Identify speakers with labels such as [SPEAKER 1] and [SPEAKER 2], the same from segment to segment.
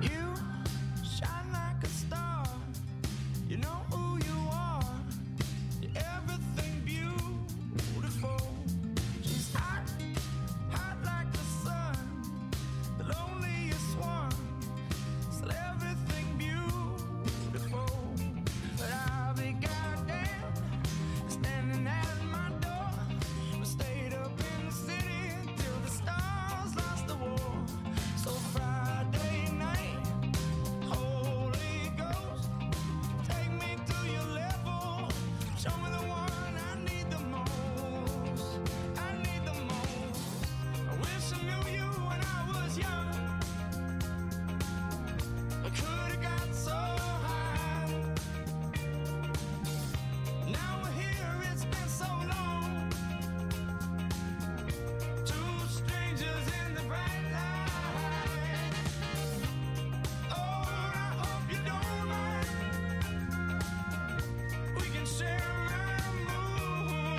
[SPEAKER 1] You shine like a star. You know who you are. You're everything beautiful. She's hot, hot like the sun. The loneliest one. Still everything beautiful. But I'll be goddamn standing at my door. We stayed up in the city till the stars lost the war. So Friday night, Holy Ghost, take me to your level. Show me the one I need the most. I need the most. I wish I knew you when I was young. I could have got so high. Now we're here, it's been so long. Two strangers in the bright light. Oh, and I hope you don't mind. We can share our moon.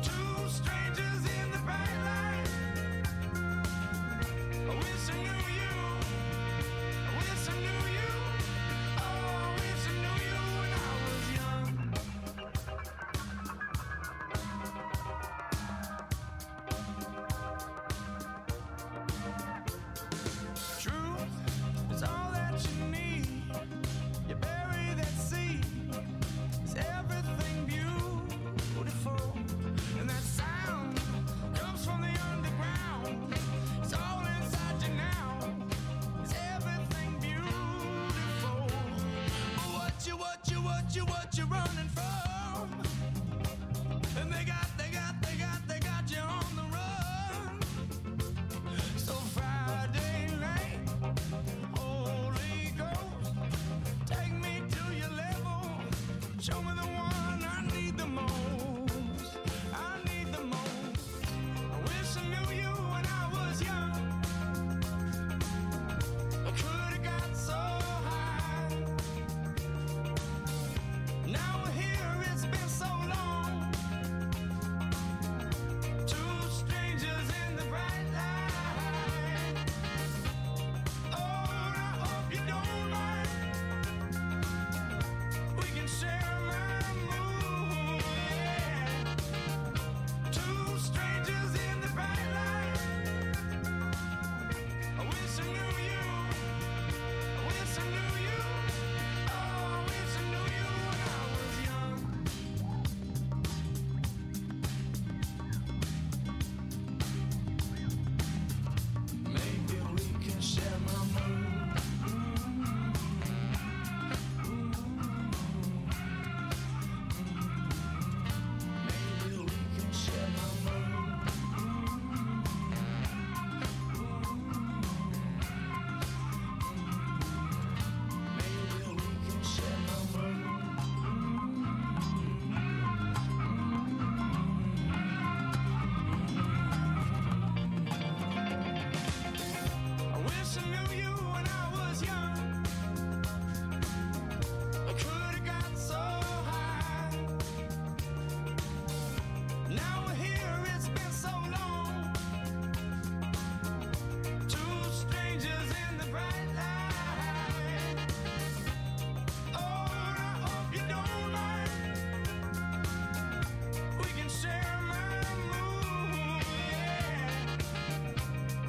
[SPEAKER 1] Two strangers in the bright light. I wish I knew you. I wish I knew you. Oh, I wish I knew you when I was young. Truth is all that you need. You bury that seed. It's everything beautiful. And that sound comes from the underground. It's all inside you now. It's everything beautiful. What you, what you, what you, what you running from? And they got, they got, they got, they got you on the run. So Friday night, Holy Ghost, take me to your level. Show me the one I need the most. I need the most. I wish I knew you when I was young. I could have got so high. Now we're here, it's been so long. Two strangers in the bright light. Oh, and I hope you don't mind. We can share my moon. Two strangers in the bright light. I wish I knew you. I wish I knew you. Oh, I wish I knew you when I was young. Maybe we can share my moon. Maybe we can share my moon. Maybe we can share my moon. I wish I knew you when I was young. I could have got so high. Now we're here, it's been so long. Two strangers in the bright light. Oh, and I hope you don't mind. We can share my moon.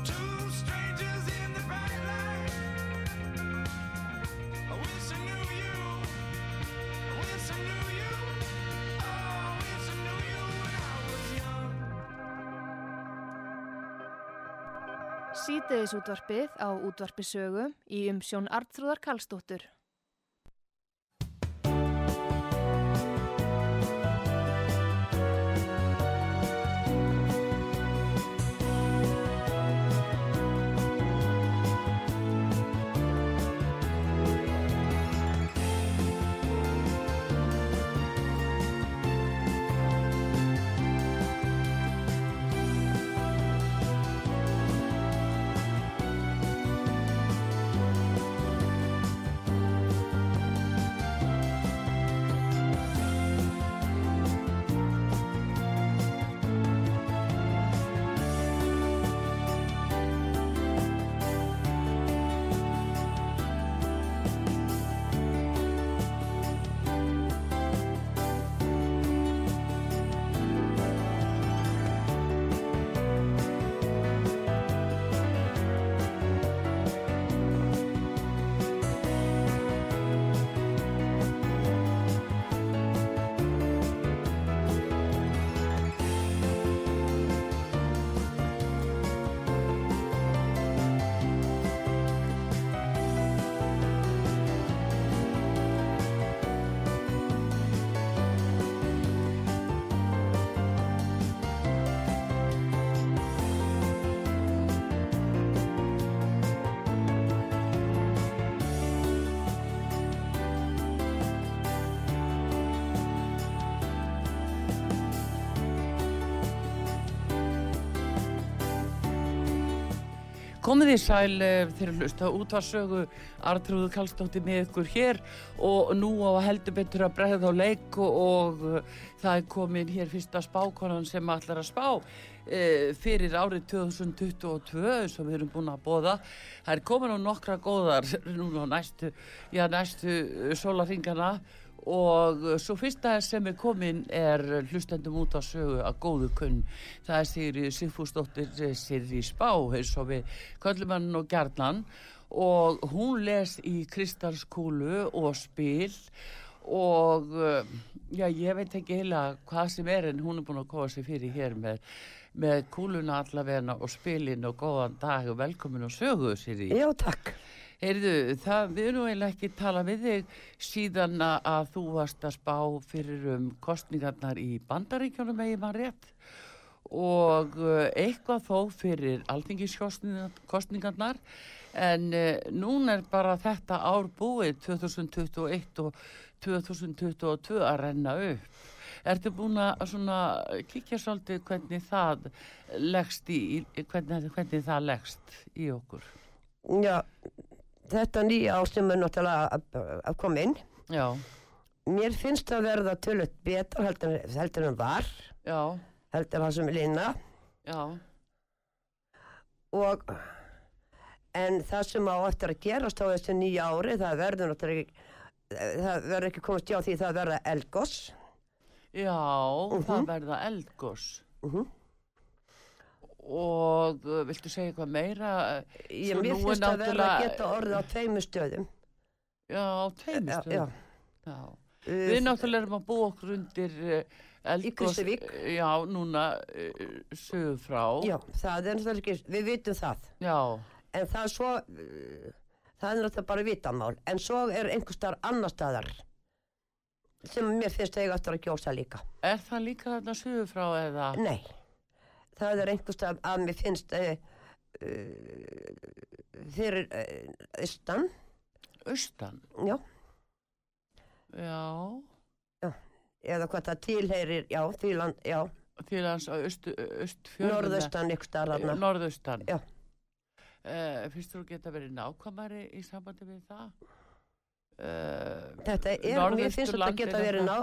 [SPEAKER 1] Two strangers in the bright light. I wish I knew you. I wish I knew you. Oh, I wish I knew you when I was young.
[SPEAKER 2] Sýteðis útvarpið á útvarpisögu í umsjón Arnþrúðar Karlsdóttur.
[SPEAKER 3] Komið þið sæl eh, þeir að hlusta á útvarsögu Artrúðu Kallstóttir með ykkur hér og nú á að heldur betur að bregða á leik og, og eh, það er komin hér fyrsta spákonan sem allar að spá e, fyrir árið 2022 sem við erum búin að bóða. Það er komin á nokkra góðar núna á næstu, já, næstu sólaringana og eh, svo fyrsta sem er komin er hlustendum út á sögu að góðu kunn. Það er Sigri Sigfúsdóttir Sigri Spá eins og við Köllumann og Gjarnan og hún les í Kristalskúlu og spil og eh, já, ég veit ekki heila hvað sem er en hún er búin að koma sér fyrir hér með, með kúluna allavegna og spilin og góðan dag og velkomin og sögu, Sigri.
[SPEAKER 4] Já, takk.
[SPEAKER 3] Heyrðu, það, við erum eiginlega ekki tala við þig síðan að að þú varst að spá fyrir um kostningarnar í bandaríkjónum eigi maður rétt og eh, eitthvað þó fyrir alþingiskostningarnar en uh, núna er bara þetta ár búið 2021 og 2022 að renna upp. Ertu búin að svona kíkja svolítið hvernig það leggst í, í- hvernig, hvernig það leggst í okkur?
[SPEAKER 4] Já, þetta nýja ár sem er náttúrulega að- að koma inn.
[SPEAKER 3] Já,
[SPEAKER 4] Mér finnst að verða tölvöld betur heldur, en- heldur en var,
[SPEAKER 3] já.
[SPEAKER 4] heldur en það sem er lína.
[SPEAKER 3] Já,
[SPEAKER 4] Og, en það sem á eftir að gerast á þessu nýja ári, það verður náttúrulega ekki, það verður ekki komast hjá því það verða elgos.
[SPEAKER 3] já,
[SPEAKER 4] Mhm.
[SPEAKER 3] það verða eldgós
[SPEAKER 4] Uh
[SPEAKER 3] og uh, viltu segja eitthvað meira?
[SPEAKER 4] Ég,
[SPEAKER 3] Svo nú
[SPEAKER 4] mér
[SPEAKER 3] er
[SPEAKER 4] finnst að verða að
[SPEAKER 3] náttúrulega-
[SPEAKER 4] geta orðið á tveimur stöðum.
[SPEAKER 3] Já, á
[SPEAKER 4] Já,
[SPEAKER 3] teimustu.
[SPEAKER 4] já.
[SPEAKER 3] Við náttúrulega erum að búa okkur undir eldgós.
[SPEAKER 4] Krýsuvík.
[SPEAKER 3] Já, núna uh, sögur frá.
[SPEAKER 4] já, það er náttúrulega ekki, við vitum það.
[SPEAKER 3] Já,
[SPEAKER 4] en það er svo uh, það er náttúrulega bara vitanmál en svo er einhver staðar annar staðar sem mér finnst að ég aftur að kjósa líka
[SPEAKER 3] er það líka þarna sögur frá eða?
[SPEAKER 4] nei, það er einhver staðar að mér finnst uh, uh, fyrir uh, austan
[SPEAKER 3] Austan?
[SPEAKER 4] já,
[SPEAKER 3] Já,
[SPEAKER 4] eða hvað það tilheyrir já, því land, já,
[SPEAKER 3] til hans á aust, austfjörðuna.
[SPEAKER 4] norðaustan einhver staðar
[SPEAKER 3] Eh,
[SPEAKER 4] þarna.
[SPEAKER 3] Norðaustan.
[SPEAKER 4] Já.
[SPEAKER 3] Eh, finnst þú geta verið nákvæmari í sambandi við það? Uh,
[SPEAKER 4] þetta er, mér finnst þetta geta verið ná,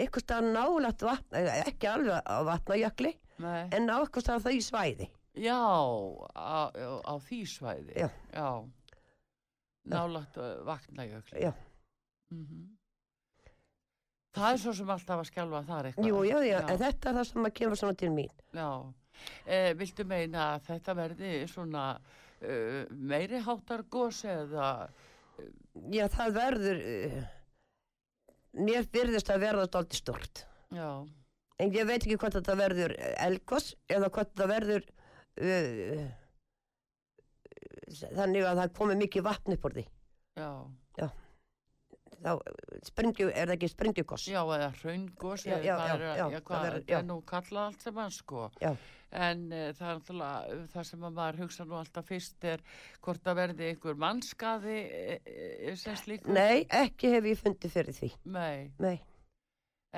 [SPEAKER 4] einhver staðar nálægt vatna ekki alveg á vatnajökli
[SPEAKER 3] Nei.
[SPEAKER 4] en á einhver staðar það í svæði
[SPEAKER 3] Já, á, á- á því svæði.
[SPEAKER 4] Já.
[SPEAKER 3] Nálagt vaknajökli.
[SPEAKER 4] Já.
[SPEAKER 3] Mm Það er svo sem alltaf að skjálfa þar eitthvað.
[SPEAKER 4] Jú, já, já, en þetta er það sem að kemur svona til mín.
[SPEAKER 3] Já, e, viltu meina að þetta verði svona uh, meiri háttar gos eða...
[SPEAKER 4] Já, það verður, uh, mér virðist að verða stolti stort.
[SPEAKER 3] Já,
[SPEAKER 4] En ég veit ekki hvort þetta verður elgos eða hvort þetta verður uh, þannig að það komi mikið vatn upp úr því.
[SPEAKER 3] já,
[SPEAKER 4] Þá eh, sprengju, er það ekki sprengjugos?
[SPEAKER 3] já, eða hraungos
[SPEAKER 4] Já,
[SPEAKER 3] eða
[SPEAKER 4] já,
[SPEAKER 3] hvað
[SPEAKER 4] já,
[SPEAKER 3] er,
[SPEAKER 4] já,
[SPEAKER 3] að- hvað er,
[SPEAKER 4] það verður-
[SPEAKER 3] þetta
[SPEAKER 4] já.
[SPEAKER 3] er nú kallað allt sem hann sko.
[SPEAKER 4] Já,
[SPEAKER 3] En uh, það er náttúrulega eh, það sem að maður hugsa nú alltaf fyrst er hvort það verði einhver mannskaði e, e, sem slíkur.
[SPEAKER 4] nei, ekki hef ég fundið fyrir því.
[SPEAKER 3] Nei,
[SPEAKER 4] Nei,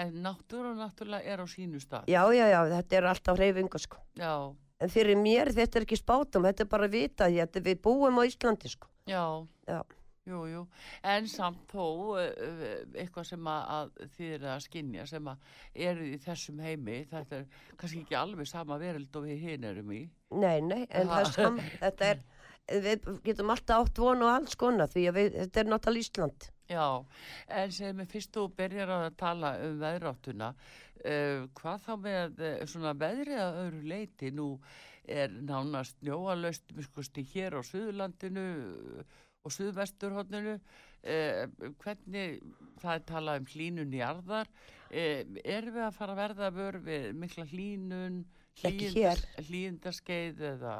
[SPEAKER 3] en náttúra náttúrulega er á sínu stað.
[SPEAKER 4] já, já, já, þetta er alltaf reyfingu sko.
[SPEAKER 3] Já,
[SPEAKER 4] En fyrir mér þetta er ekki spátum, þetta er bara að vita því að við búum á Íslandi sko.
[SPEAKER 3] já,
[SPEAKER 4] Já,
[SPEAKER 3] jú, jú. En samt þó eh, eh, eitthvað sem að, að þið er að skinja sem að eru í þessum heimi, þetta er kannski ekki alveg sama veröld og við hinn erum í.
[SPEAKER 4] Nei, nei, en
[SPEAKER 3] Ha.
[SPEAKER 4] það er saman, þetta er, við getum alltaf átt von og alls konar því að við, þetta er náttúrulega Ísland.
[SPEAKER 3] Já, en segðu mig fyrst þú byrjar að tala um veðráttuna, uh, hvað þá með uh, svona veðrið að öðru leiti nú er nánast njóalaust, miskusti hér á Suðurlandinu eh, og Suðvesturhóttinu, uh, hvernig það er talað um hlínun í arðar, uh, erum við að fara að verða vör við mikla hlínun,
[SPEAKER 4] Ekki
[SPEAKER 3] hlýindas- hlýindaskeið eða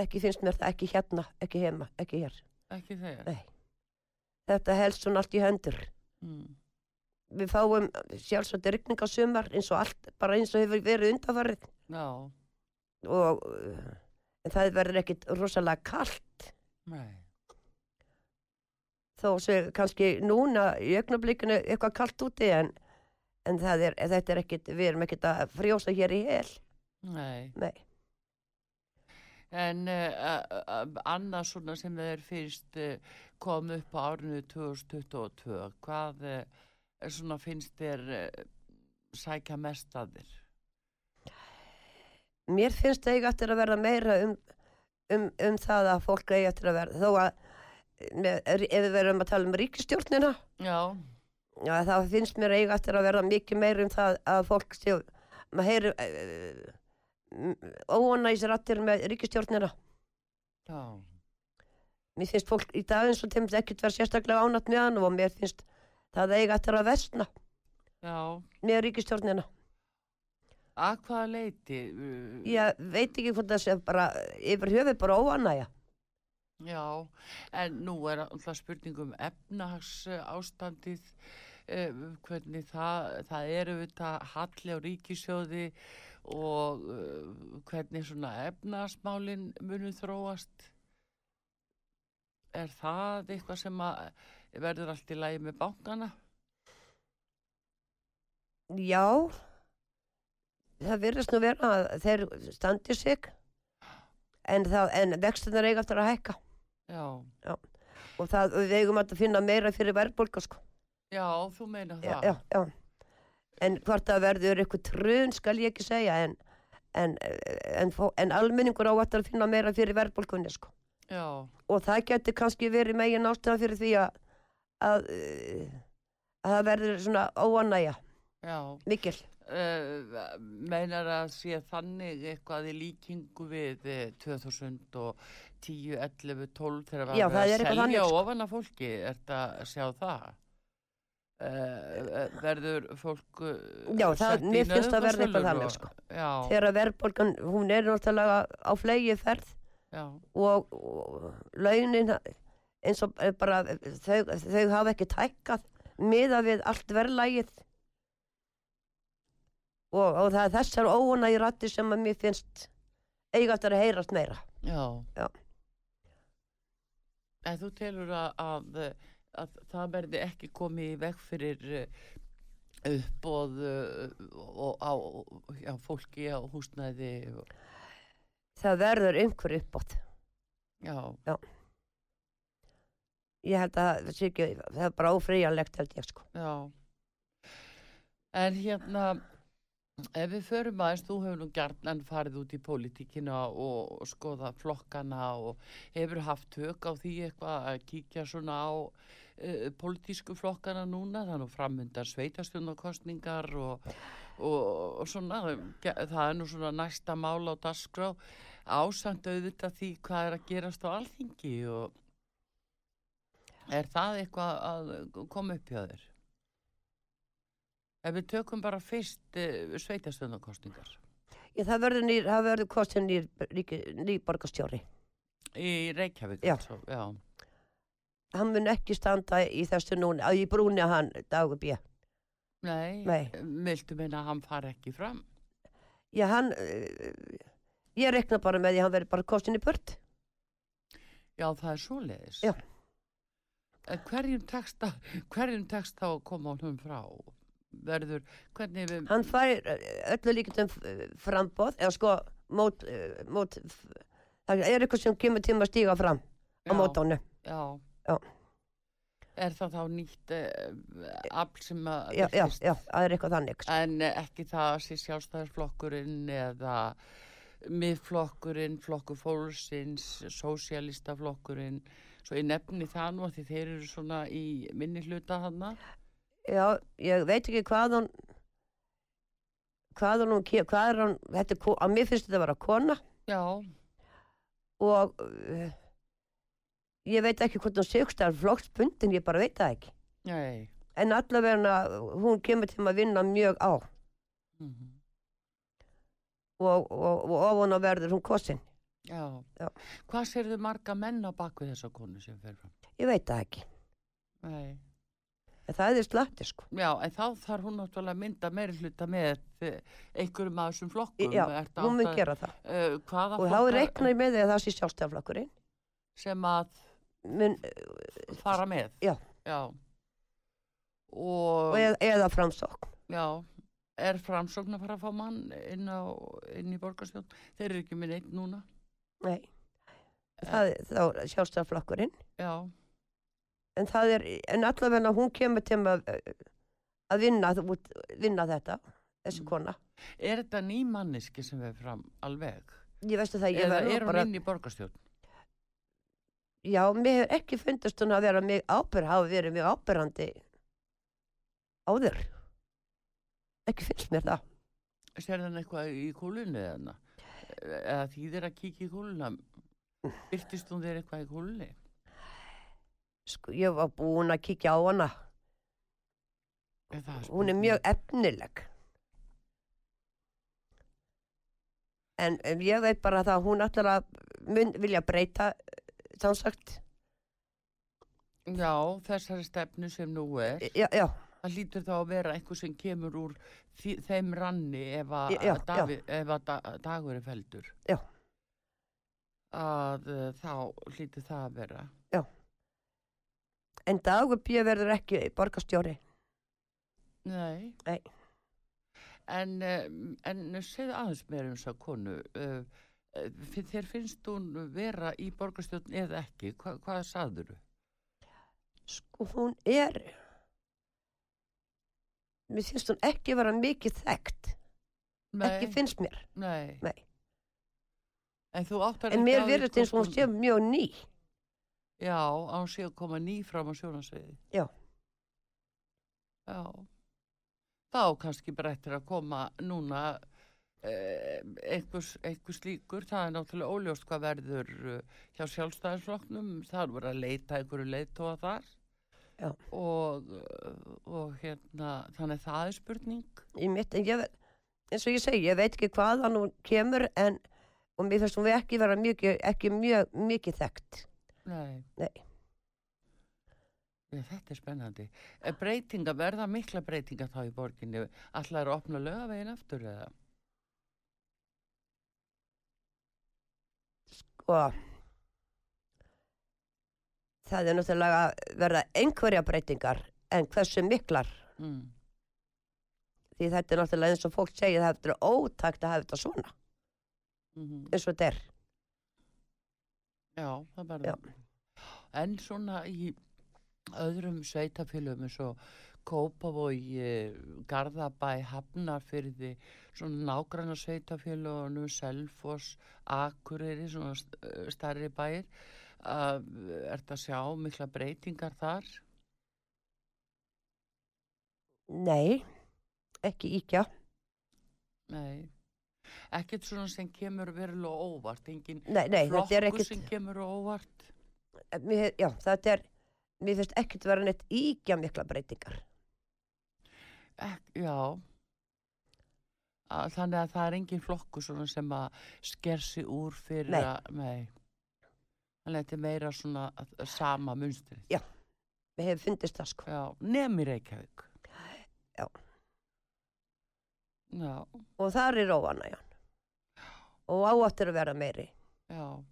[SPEAKER 4] Ekki finnst mér það, ekki hérna, ekki heima, ekki hér.
[SPEAKER 3] ekki þegar?
[SPEAKER 4] Nei. Þetta helst svona allt í hendur.
[SPEAKER 3] Mm.
[SPEAKER 4] Við fáum sjálfsagt rigningasumar eins og allt, bara eins og hefur verið undanfarið
[SPEAKER 3] Já,
[SPEAKER 4] og uh, en það verður ekkit rosalega kallt
[SPEAKER 3] nei,
[SPEAKER 4] þó sé kannski núna í augnablikinu eitthvað kallt úti en, en það er, þetta er ekkit, við erum ekkit að frjósa hér í hel.
[SPEAKER 3] nei.
[SPEAKER 4] Nei.
[SPEAKER 3] En uh, annað svona sem þeir finnst uh, kom upp á árinu 2022, hvað uh, svona finnst þér uh, sækja mest að þér?
[SPEAKER 4] mér finnst það eiga eftir að verða meira um, um, um það að fólk eiga eftir að verða þó að með, ef við verðum að tala um ríkistjórnina
[SPEAKER 3] Já,
[SPEAKER 4] já, þá finnst mér eiga eftir að verða mikið meira um það að fólk séu maður heyri óvona í sér allir með ríkistjórnina
[SPEAKER 3] já,
[SPEAKER 4] mér finnst fólk í dag eins og þeim ekkert verð sérstaklega ánætt með hann og mér finnst það eiga eftir að versna
[SPEAKER 3] já.
[SPEAKER 4] með ríkistjórnina
[SPEAKER 3] Að hvaða leiti? Uh,
[SPEAKER 4] ég veit ekki hvort það sé bara yfir höfuð bara óanæja
[SPEAKER 3] Já, en nú er alltaf spurning um efnahags eh, ástandið, eh, hvernig það, það er auðvitað halli á ríkisjóði og eh, hvernig svona efnahagsmálin munu þróast. Er það eitthvað sem að verður allt í lagi með bankana?
[SPEAKER 4] Já, það virðist nú vera að þeir standi sig en, það, en vextunar eiga eftir að hækka
[SPEAKER 3] Já,
[SPEAKER 4] og það, við eigum að finna meira fyrir verðbólka sko.
[SPEAKER 3] já, þú meina
[SPEAKER 4] Já,
[SPEAKER 3] það.
[SPEAKER 4] já, já. En hvort það verður eitthvað trun skal ég ekki segja en, en, en, fó- en almenningur á eftir að finna meira fyrir verðbólkunni sko.
[SPEAKER 3] já.
[SPEAKER 4] og það getur kannski verið megin ástæðan fyrir því að, að, eh, að það verður svona óanæja
[SPEAKER 3] já.
[SPEAKER 4] mikil.
[SPEAKER 3] uh, meinar að sé þannig eitthvað í líkingu við eh, 2010, 11, 12 þegar var
[SPEAKER 4] Já,
[SPEAKER 3] verið
[SPEAKER 4] það er
[SPEAKER 3] að
[SPEAKER 4] eitthvað þannig,
[SPEAKER 3] selja
[SPEAKER 4] sko.
[SPEAKER 3] ofan af fólki, er að sjá það? Uh, verður fólk eh,
[SPEAKER 4] Já, það-
[SPEAKER 3] sett í
[SPEAKER 4] mér finnst það verða
[SPEAKER 3] nauðungarsölur
[SPEAKER 4] eitthvað þannig,
[SPEAKER 3] og-
[SPEAKER 4] sko.
[SPEAKER 3] Já,
[SPEAKER 4] Þegar verðbólgan, hún er náttúrulega á flegi ferð
[SPEAKER 3] já,
[SPEAKER 4] og, og launin eins og bara þau, þau hafa ekki tækkað miða við allt verðlægið og, og það er þessar óuna í rætti sem að mér finnst eiga eftir að heyrast meira
[SPEAKER 3] já.
[SPEAKER 4] Já.
[SPEAKER 3] En þú telur að, að, að það verði ekki komið í veg fyrir eh, uppboð eh, og, á, já, fólki á húsnæði og
[SPEAKER 4] það verður einhver uppbót
[SPEAKER 3] Já,
[SPEAKER 4] ég held að það sé ekki, það er bara ófríjanlegt held ég sko
[SPEAKER 3] já. En hérna, ef við förum aðeins, þú hefur nú gjarnan farið út í pólitíkina og skoða flokkana og hefur haft tök á því eitthvað að kíkja svona á uh, pólitísku flokkana núna, þannig að framöndan sveitastjónakostningar og, og, og svona, ge- það er nú svona næsta mál á dagskrá ásamt auðvitað því hvað er að gerast á alþingi og er það eitthvað að koma upp hjá þér? Ef við tökum bara fyrst uh, sveitastöndakostningar
[SPEAKER 4] ég, það verður, nýr, það verður kostin nýr, ríki- nýr borgarstjóri
[SPEAKER 3] í Reykjavík
[SPEAKER 4] Já.
[SPEAKER 3] svo, já,
[SPEAKER 4] hann mun ekki standa í þessu núna að ég brúni hann dagur bíja
[SPEAKER 3] nei,
[SPEAKER 4] Nei.
[SPEAKER 3] viltu meina að hann fari ekki fram
[SPEAKER 4] Já, hann, eh, ég rekna bara með því að hann verði bara kostin í burt.
[SPEAKER 3] já, það er svoleiðis
[SPEAKER 4] Já.
[SPEAKER 3] En Hverjum tekst að hverjum tekst þá að koma honum frá verður, hvernig við
[SPEAKER 4] Hann fær eh, öllu líkindum eh, framboð, eða sko, mót, eh, mót, það er eitthvað sem kemur tíma að stíga fram á
[SPEAKER 3] Já.
[SPEAKER 4] mót ánu.
[SPEAKER 3] Já.
[SPEAKER 4] Já.
[SPEAKER 3] Er það þá nýtt uh, afl sem að
[SPEAKER 4] Já, já,
[SPEAKER 3] birtist?
[SPEAKER 4] já, það er eitthvað þannig. sko.
[SPEAKER 3] en eh, ekki það að sé sjálfstæðisflokkurinn eða miðflokkurinn, flokkur fólksins, sósialistaflokkurinn, svo ég nefni það nú að því þeir eru svona í minni hluta hana.
[SPEAKER 4] Já, ég veit ekki hvað hann, hvað hann, hvað er hann, þetta er, ko- að mér finnst þetta að vera kona
[SPEAKER 3] Já,
[SPEAKER 4] og uh, ég veit ekki hvort hann sögst að flokksbundin, ég bara veit það ekki.
[SPEAKER 3] nei.
[SPEAKER 4] En allavega hún kemur til að vinna mjög á.
[SPEAKER 3] Mm
[SPEAKER 4] og, og, og ofan á verður hún kosin
[SPEAKER 3] Já.
[SPEAKER 4] Já.
[SPEAKER 3] Hvað serðu marga menn á baku þessa konu sem fer fram?
[SPEAKER 4] ég veit það ekki,
[SPEAKER 3] Nei.
[SPEAKER 4] en það er slatti sko
[SPEAKER 3] Já, en þá þarf hún náttúrulega að mynda meiri hluta með eh, einhverjum af þessum flokkum.
[SPEAKER 4] já,
[SPEAKER 3] Ertu
[SPEAKER 4] hún
[SPEAKER 3] átt
[SPEAKER 4] mun
[SPEAKER 3] að-
[SPEAKER 4] gera það
[SPEAKER 3] Uh, hvaða
[SPEAKER 4] og þá
[SPEAKER 3] flokkar
[SPEAKER 4] reiknar ég með því að það sé sjálfstæðaflokkurinn
[SPEAKER 3] sem að
[SPEAKER 4] mun,
[SPEAKER 3] fara með
[SPEAKER 4] Já.
[SPEAKER 3] Já. og
[SPEAKER 4] eða, eða framsókn
[SPEAKER 3] já, er framsókn að fara að fá mann inn, á, inn í borgarstjórn þeir eru ekki minn einn núna
[SPEAKER 4] Nei, það er þá sjálfstæðarflokkurinn.
[SPEAKER 3] já,
[SPEAKER 4] En það er, en allavega hún kemur til með að, að vinna, þú- út- vinna þetta, þessi
[SPEAKER 3] Mm.
[SPEAKER 4] kona.
[SPEAKER 3] er þetta ný manniski sem við fram alveg?
[SPEAKER 4] Ég veist að það, ég
[SPEAKER 3] Eða
[SPEAKER 4] verður
[SPEAKER 3] er hún
[SPEAKER 4] bara,
[SPEAKER 3] inn í borgarstjórn?
[SPEAKER 4] já, mér hefur ekki fundist hún að vera mig ábyrð, hafa verið mjög ábyrðandi áður. Ekki finnst mér það.
[SPEAKER 3] Sér hann eitthvað í kúlunni eða hana? Eða þýðir að kíkja í kúluna? Byrtist hún þér eitthvað í kúlunni?
[SPEAKER 4] Sko, ég var búin að kíkja á hana.
[SPEAKER 3] Er það
[SPEAKER 4] Hún er
[SPEAKER 3] spurning?
[SPEAKER 4] mjög efnileg. En um, ég veit bara það að hún allar að mun vilja breyta, eh, þannsagt.
[SPEAKER 3] Já, þessari stefnu sem nú er.
[SPEAKER 4] Já, já,
[SPEAKER 3] Það lítur þá að vera einhver sem kemur úr því, þeim ranni ef að,
[SPEAKER 4] Já, já.
[SPEAKER 3] Davi, ef að da, dagur er feldur.
[SPEAKER 4] Já.
[SPEAKER 3] Að uh, þá lítur það að vera.
[SPEAKER 4] en dagur bíu verður ekki borgarstjóri.
[SPEAKER 3] Nei.
[SPEAKER 4] Nei.
[SPEAKER 3] En, eh, en segðu aðeins mér um þess að konu. eh, eh, fi- Þér finnst hún vera í borgarstjórn eða ekki? Hva, hvað sagður þú?
[SPEAKER 4] Sko, hún er, mér finnst hún ekki vera mikið þekkt. Ekki finnst mér.
[SPEAKER 3] Nei.
[SPEAKER 4] nei.
[SPEAKER 3] En þú áttar
[SPEAKER 4] En
[SPEAKER 3] ekki á
[SPEAKER 4] mér
[SPEAKER 3] því
[SPEAKER 4] verður eins og hún
[SPEAKER 3] hvort
[SPEAKER 4] sé mjög ný.
[SPEAKER 3] Já, að hún sé að koma ný fram á sjónasviði.
[SPEAKER 4] Já.
[SPEAKER 3] Já. Þá kannski bara eftir að koma núna eh, einhvers, einhvers líkur. Það er náttúrulega óljóst hvað verður eh, hjá sjálfstæðisflokknum. Það er verið að leita einhverju leitóa þar.
[SPEAKER 4] Já.
[SPEAKER 3] Og, eh, og hérna, þannig að það er spurning.
[SPEAKER 4] í mitt en ég, ve- eins og ég segi, ég veit ekki hvaðan hún kemur en og mér finnst hún ekki vera mjög, ekki mjög mikið þekkt
[SPEAKER 3] Nei.
[SPEAKER 4] Nei.
[SPEAKER 3] Já, þetta er spennandi. Eh, Breytinga, verða mikla breytinga þá í borginni? Ætlaður að opna lögavegin aftur eða?
[SPEAKER 4] og sko. það er náttúrulega að verða einhverja breytingar en hversu miklar
[SPEAKER 3] Mm.
[SPEAKER 4] því þetta er náttúrulega eins og fólk segir það er ótakt að hafa þetta svona
[SPEAKER 3] Mm
[SPEAKER 4] eins og þetta er
[SPEAKER 3] Já, það bara.
[SPEAKER 4] Já.
[SPEAKER 3] En svona í öðrum sveitafélum eins og Kópavogi, Garðabæ, Hafnarfyrði, svona nágranna sveitafélunum, Selfoss, Akureyri, svona st- eh, stærri bæir, uh, ert að sjá mikla breytingar þar?
[SPEAKER 4] nei, ekki íkja
[SPEAKER 3] Nei. Ekkert svona sem kemur verulega á óvart, engin
[SPEAKER 4] nei, nei, þetta er
[SPEAKER 3] flokkur
[SPEAKER 4] ekkit
[SPEAKER 3] sem kemur á óvart.
[SPEAKER 4] mér, já, þetta er mér finnst ekkit vera neitt íkja mikla breytingar
[SPEAKER 3] Ek, já. Að, þannig að það er engin flokku svona sem að sker sig úr fyrir
[SPEAKER 4] Nei.
[SPEAKER 3] að, nei. Þannig að þetta er meira svona að- að sama munstri.
[SPEAKER 4] mér hefur fundist það sko
[SPEAKER 3] Já, nemi Reykjavík.
[SPEAKER 4] Já.
[SPEAKER 3] Já,
[SPEAKER 4] og þar er óanægjan og ááttir að vera meiri
[SPEAKER 3] já.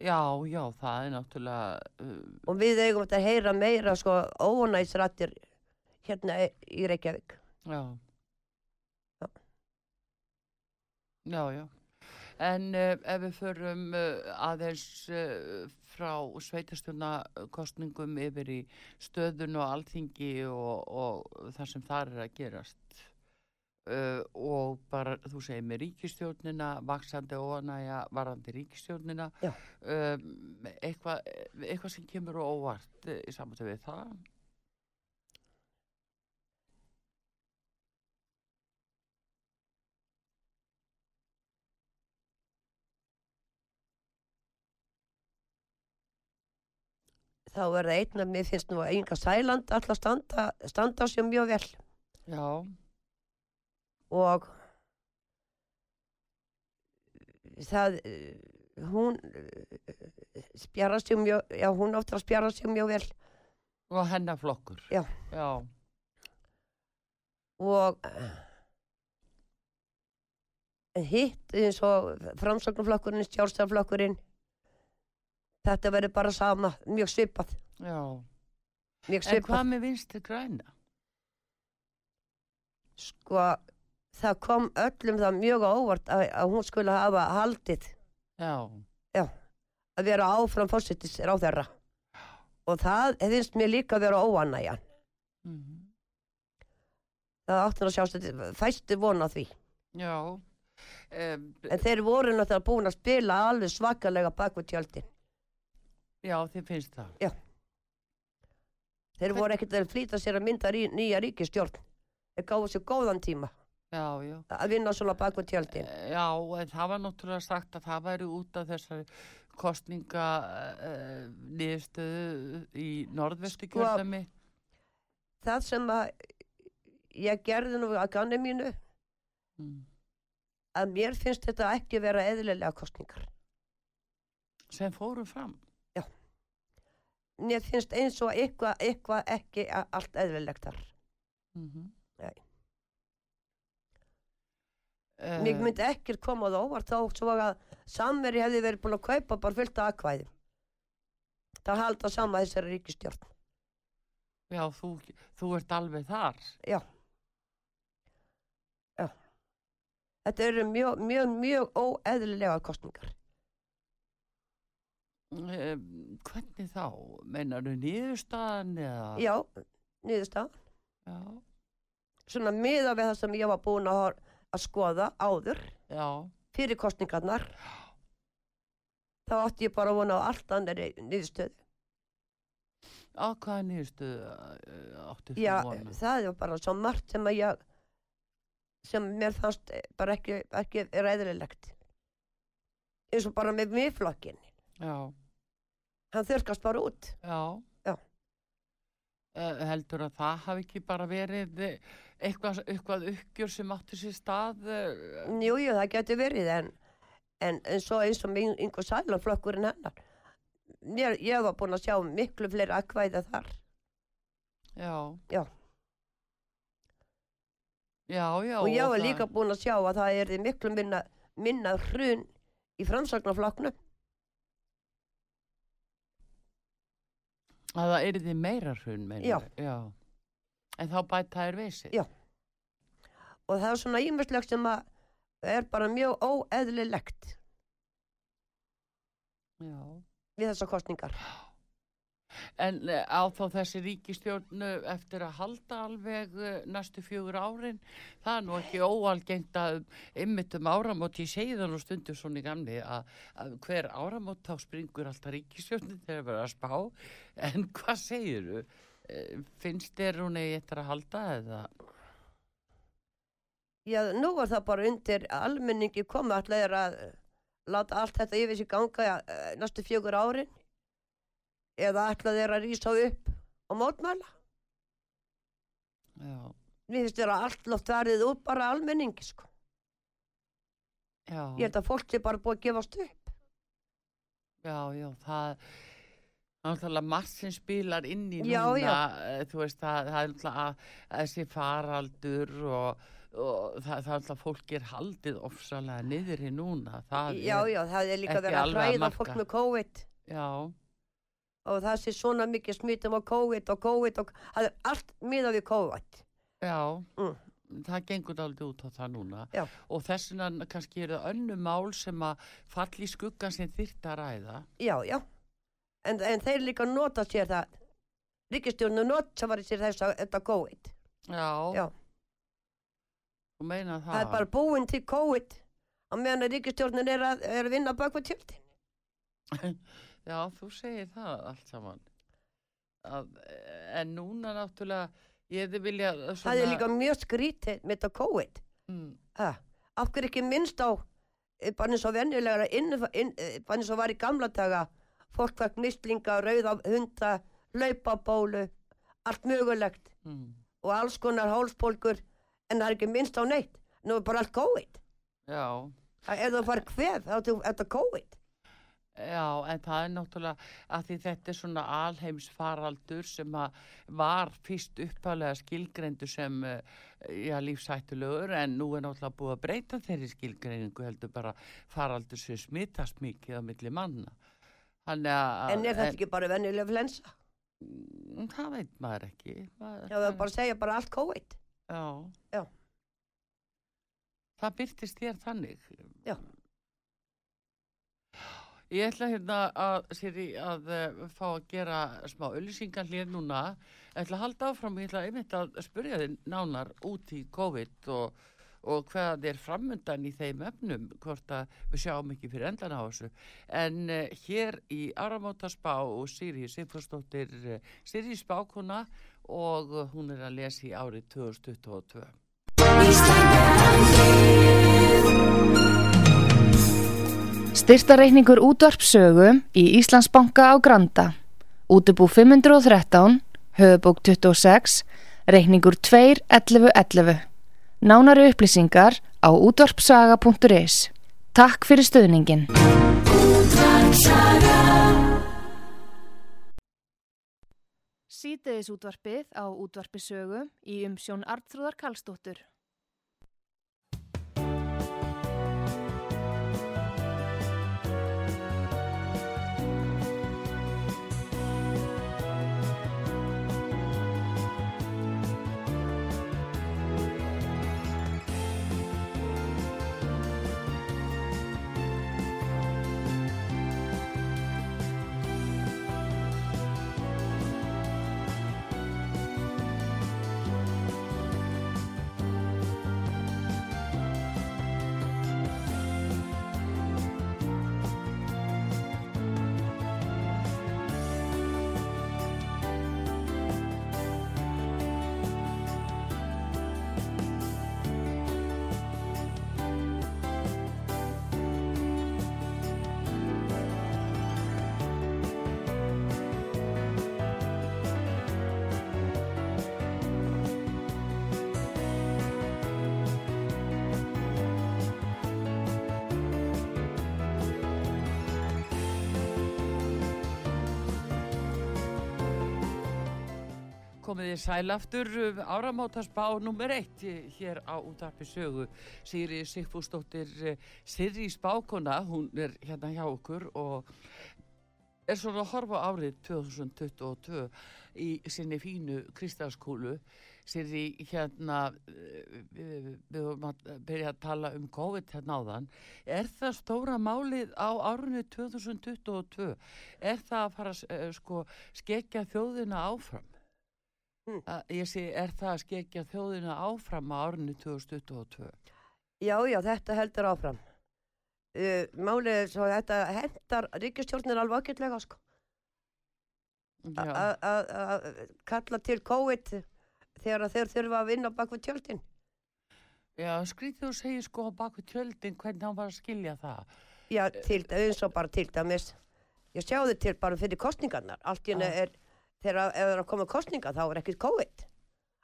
[SPEAKER 3] Já, já, það er náttúrulega, uh,
[SPEAKER 4] og við eigum þetta að heyra meira sko óanægsrættir hérna e- í Reykjavík
[SPEAKER 3] já.
[SPEAKER 4] Já.
[SPEAKER 3] Já, já. En uh, ef við förum uh, aðeins uh, frá sveitastunakostningum yfir í stöðun og alþingi og, og það sem þar er að gerast uh, og bara, þú segir með ríkistjórnina, vaksandi óanæja, varandi ríkistjórnina,
[SPEAKER 4] Já.
[SPEAKER 3] um, eitthvað eitthva sem kemur á óvart eh, í samvættu við það.
[SPEAKER 4] þá er það einn að mér finnst nú að Inga Sæland alltaf standa, standa sér mjög vel
[SPEAKER 3] Já,
[SPEAKER 4] og það eh, hún eh, spjarar sér mjög já hún áttur að spjara sér mjög vel
[SPEAKER 3] og hennar flokkur.
[SPEAKER 4] Já.
[SPEAKER 3] Já,
[SPEAKER 4] og hitt eins og framsögnflokkurinn, sjálfstæðarflokkurinn þetta verður bara sama mjög svipað,
[SPEAKER 3] já.
[SPEAKER 4] mjög
[SPEAKER 3] En hvað
[SPEAKER 4] svipað
[SPEAKER 3] með vinstri græna?
[SPEAKER 4] sko það kom öllum það mjög á óvart að, að hún skulle hafa haldið
[SPEAKER 3] já,
[SPEAKER 4] að vera áfram fórsetis ráðherra og það finnst mér líka að vera óanægjan
[SPEAKER 3] mhm.
[SPEAKER 4] það átti hann að sjást fæstu vona því
[SPEAKER 3] já. Um,
[SPEAKER 4] en þeir voru náttúrulega búin að spila alveg svakalega bakvið tjöldin
[SPEAKER 3] já, þið finnst það.
[SPEAKER 4] þeir voru ekkert að flýta sér að mynda rí, nýja ríkistjórn þeir gáðu sér góðan tíma
[SPEAKER 3] Já, já.
[SPEAKER 4] að vinna svona bakvið tjöldin
[SPEAKER 3] Já, en það var náttúrulega sagt að það væri út af þessari kostninga uh, niðurstöðu í norðvestu
[SPEAKER 4] Sko-
[SPEAKER 3] kjöldami.
[SPEAKER 4] það sem að ég gerði nú að ganni mínu
[SPEAKER 3] Mm.
[SPEAKER 4] að mér finnst þetta ekki vera eðlilega kostningar
[SPEAKER 3] Sem fórum fram.
[SPEAKER 4] mér finnst eins og eitthvað eitthva ekki a- allt eðlilegt þar
[SPEAKER 3] Mm
[SPEAKER 4] Nei.
[SPEAKER 3] Uh,
[SPEAKER 4] Mér myndi ekkert koma á það óvart þá svo að samveri hefði verið búin að kaupa bara fullt af akkvæðum. Það halda sama þessari ríkistjórn.
[SPEAKER 3] Já, þú, þú ert alveg þar.
[SPEAKER 4] Þetta eru mjög, mjög, mjög óeðlilega kostningar.
[SPEAKER 3] Uh, hvernig þá? Meinarðu niðurstaðan eða?
[SPEAKER 4] Já, niðurstað.
[SPEAKER 3] Já,
[SPEAKER 4] Svona miða við það sem ég var búin að, hor- að skoða áður
[SPEAKER 3] já,
[SPEAKER 4] fyrir kostningarnar. Þá átti ég bara að vona á allt annari niðurstöð.
[SPEAKER 3] á hvaða niðurstöðu uh, áttu þú
[SPEAKER 4] Já, eh,
[SPEAKER 3] vona?
[SPEAKER 4] það var bara svo margt sem að ég sem mér fannst eh, bara ekki, ekki ræðilegt. Eins og bara með miðflokkin.
[SPEAKER 3] Já,
[SPEAKER 4] hann þurrkast bara út
[SPEAKER 3] já.
[SPEAKER 4] Já.
[SPEAKER 3] Eh, heldur að það hafi ekki bara verið eh, eitthvað, eitthvað uppgjör sem áttu sér stað? Uh,
[SPEAKER 4] jú, jú, það getur verið en, en, en svo eins og með yngur sælanflokkurinn hennar Mér, ég var búin að sjá miklu fleiri akkvæða þar
[SPEAKER 3] já.
[SPEAKER 4] Já.
[SPEAKER 3] Já, já.
[SPEAKER 4] og ég var
[SPEAKER 3] það-
[SPEAKER 4] líka búin að sjá að það er miklu minna, minna hrun í framsagnarflokknum
[SPEAKER 3] Að það yrði meira hrun, meina.
[SPEAKER 4] Já.
[SPEAKER 3] Já. En þá bæta er vissi.
[SPEAKER 4] Já. og það er svona ímjömslegt sem að er bara mjög óeðlilegt
[SPEAKER 3] já.
[SPEAKER 4] við þessar kostningar
[SPEAKER 3] En eh, á þá þessi ríkistjórnu eftir að halda alveg eh, næstu fjögur árin, það er nú ekki óalgengt að ymmit um áramót, ég segi það nú stundum svona í gamli að, að hver áramót þá springur alltaf ríkistjórnin þegar verður að spá, en hvað segir þú? Finnst þér hún eigi eftir að halda eða?
[SPEAKER 4] já, nú var það bara undir almenningi koma alltaf er að eh, láta allt þetta yfir sig ganga eh, næstu fjögur árin eða alltaf er að rísa upp og mótmæla
[SPEAKER 3] Já,
[SPEAKER 4] mér finnst þér að allt loft verðið út bara almenningi sko.
[SPEAKER 3] já,
[SPEAKER 4] ég held að fólk sé bara búið að gefast upp
[SPEAKER 3] já, já, það... Náttúrulega margt sem spilar inn í
[SPEAKER 4] Já,
[SPEAKER 3] núna,
[SPEAKER 4] já.
[SPEAKER 3] eh, þú veist, það, það er náttúrulega að- að þessi faraldur og, og það, það er náttúrulega fólk er haldið ofsalega niður í núna. Það
[SPEAKER 4] já
[SPEAKER 3] er,
[SPEAKER 4] já það er líka
[SPEAKER 3] ekki
[SPEAKER 4] verið að
[SPEAKER 3] alveg að
[SPEAKER 4] hræða
[SPEAKER 3] marka.
[SPEAKER 4] fólk með COVID
[SPEAKER 3] Já,
[SPEAKER 4] og það sé svona mikið smitum á COVID og COVID og það er allt miðað við COVID
[SPEAKER 3] já,
[SPEAKER 4] Mm.
[SPEAKER 3] það gengur aldrei út á það núna
[SPEAKER 4] Já.
[SPEAKER 3] og þess vegna kannski eru önnu mál sem að falli í skuggan sem þyrft að ræða.
[SPEAKER 4] já já en, en þeir líka nota sér það ríkistjórnu nota var í sér þess að þetta COVID
[SPEAKER 3] Já,
[SPEAKER 4] Já.
[SPEAKER 3] þú meina það.
[SPEAKER 4] það er bara búin til COVID á meðan að ríkistjórnin er að, er að vinna bakvað tjöldin
[SPEAKER 3] Já, þú segir það allt saman. Að, eh, en núna náttúrulega, ég hefði viljað svona...
[SPEAKER 4] það er líka mjög skrítið með þetta COVID
[SPEAKER 3] Mm,
[SPEAKER 4] Ha, af hverju ekki minnst á eh, bara eins og venjulega inn, inn, eh, bara eins og var í gamla daga fólk fæk mislinga, rauða hunda laupabólu allt mögulegt
[SPEAKER 3] mm,
[SPEAKER 4] og alls konar hálsbólgur en það er ekki minnst á neitt nú er bara allt COVID
[SPEAKER 3] já.
[SPEAKER 4] Það- ef þú farið hvef þá er þetta COVID
[SPEAKER 3] Já, en það er náttúrulega að því þetta er svona alheimsfaraldur sem að var fyrst upphæðlega skilgreindu sem eh, já, lífsættulegur en nú er náttúrulega búið að breyta þeirri skilgreiningu heldur bara faraldur sem smittast mikið á milli manna. Þannig að...
[SPEAKER 4] en er þetta ekki bara venjulega flensa
[SPEAKER 3] Mm, Það veit maður ekki. Maður,
[SPEAKER 4] já það er bara að segja bara allt COVID
[SPEAKER 3] Já.
[SPEAKER 4] Já.
[SPEAKER 3] Það byrtist þér þannig.
[SPEAKER 4] Já.
[SPEAKER 3] Ég ætla hérna að, Siri, að eh, fá að gera smá öllisingar hér núna. Ég ætla að halda áfram, ég ætla einmitt að spurja þið nánar út í COVID og, og hvað er framundan í þeim efnum, hvort að við sjáum ekki fyrir endan á þessu. En uh, hér í Áramótaspá og Siri Sigfúrsdóttir, uh, Siri Spákuna og eh, hún er að lesa í árið 2022.
[SPEAKER 2] Styrtareikningur útvarpsögu í Íslandsbanka á Granda. Útubú 513, höfubók 26, reikningur 2.11.11. Nánari upplýsingar á útvarpsaga.is. Takk fyrir stöðningin. Sítiðis útvarpið á útvarpisögu í umsjón Arnþrúðar Karlsdóttur.
[SPEAKER 3] Komið í sælaftur áramótarsbá nummer uh, eitt eh, hér á útarpi sögu. Sýri Sigfúsdóttir Sýri Spákona, hún er hérna hjá okkur og er svona að horfa á árið 2022 í sinni fínu kristalskúlu. Sýri hérna, eh, við við vorum að byrja að tala um COVID hérna áðan. Er það stóra málið á árinu 2022? Er það að fara að s- eh, sko skekja þjóðina áfram? að ég sé, er það að skekja þjóðina áfram á árinu 2022?
[SPEAKER 4] Já, já, þetta heldur áfram. Uh, málið er svo að þetta hendar ríkistjórnir alveg ágætlega sko.
[SPEAKER 3] Já,
[SPEAKER 4] Að- að að kalla til COVID þegar að þeir þurfa að vinna bak við tjöldin.
[SPEAKER 3] já skrítið og segir sko á baku tjöldin hvernig hann var að skilja það.
[SPEAKER 4] Já,
[SPEAKER 3] Eh,
[SPEAKER 4] til, eins og bara til dæmis. Ég sjá þau til bara fyrir kostningarnar. Allt í henni
[SPEAKER 3] Já.
[SPEAKER 4] er, þegar að- ef það er að koma kostningar þá er ekkert COVID.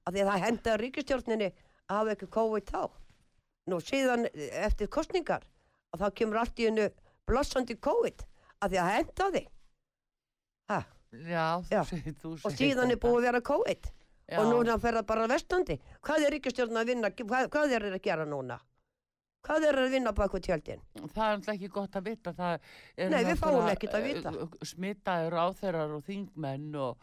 [SPEAKER 4] Af því að það henda ríkistjórninni að hafa ekki COVID þá. Nú síðan eh, eftir kostningar og þá kemur allt í henni blossandi COVID af því að það henda því. Ha,
[SPEAKER 3] Já, þú
[SPEAKER 4] Já,
[SPEAKER 3] segir þú
[SPEAKER 4] og
[SPEAKER 3] segir
[SPEAKER 4] síðan er
[SPEAKER 3] þetta.
[SPEAKER 4] búið að vera COVID
[SPEAKER 3] já,
[SPEAKER 4] og núna fer það bara vestandi. Hvað er ríkistjórnin að vinna? Hvað, hvað er að gera núna? Hvað er að vinna baku tjöldin?
[SPEAKER 3] Það er alltaf ekki gott að vita. það er
[SPEAKER 4] Nei, við fáum
[SPEAKER 3] náttúrulega,
[SPEAKER 4] ekkert að vita.
[SPEAKER 3] eh, Smitaðir áþeirar og þingmenn og,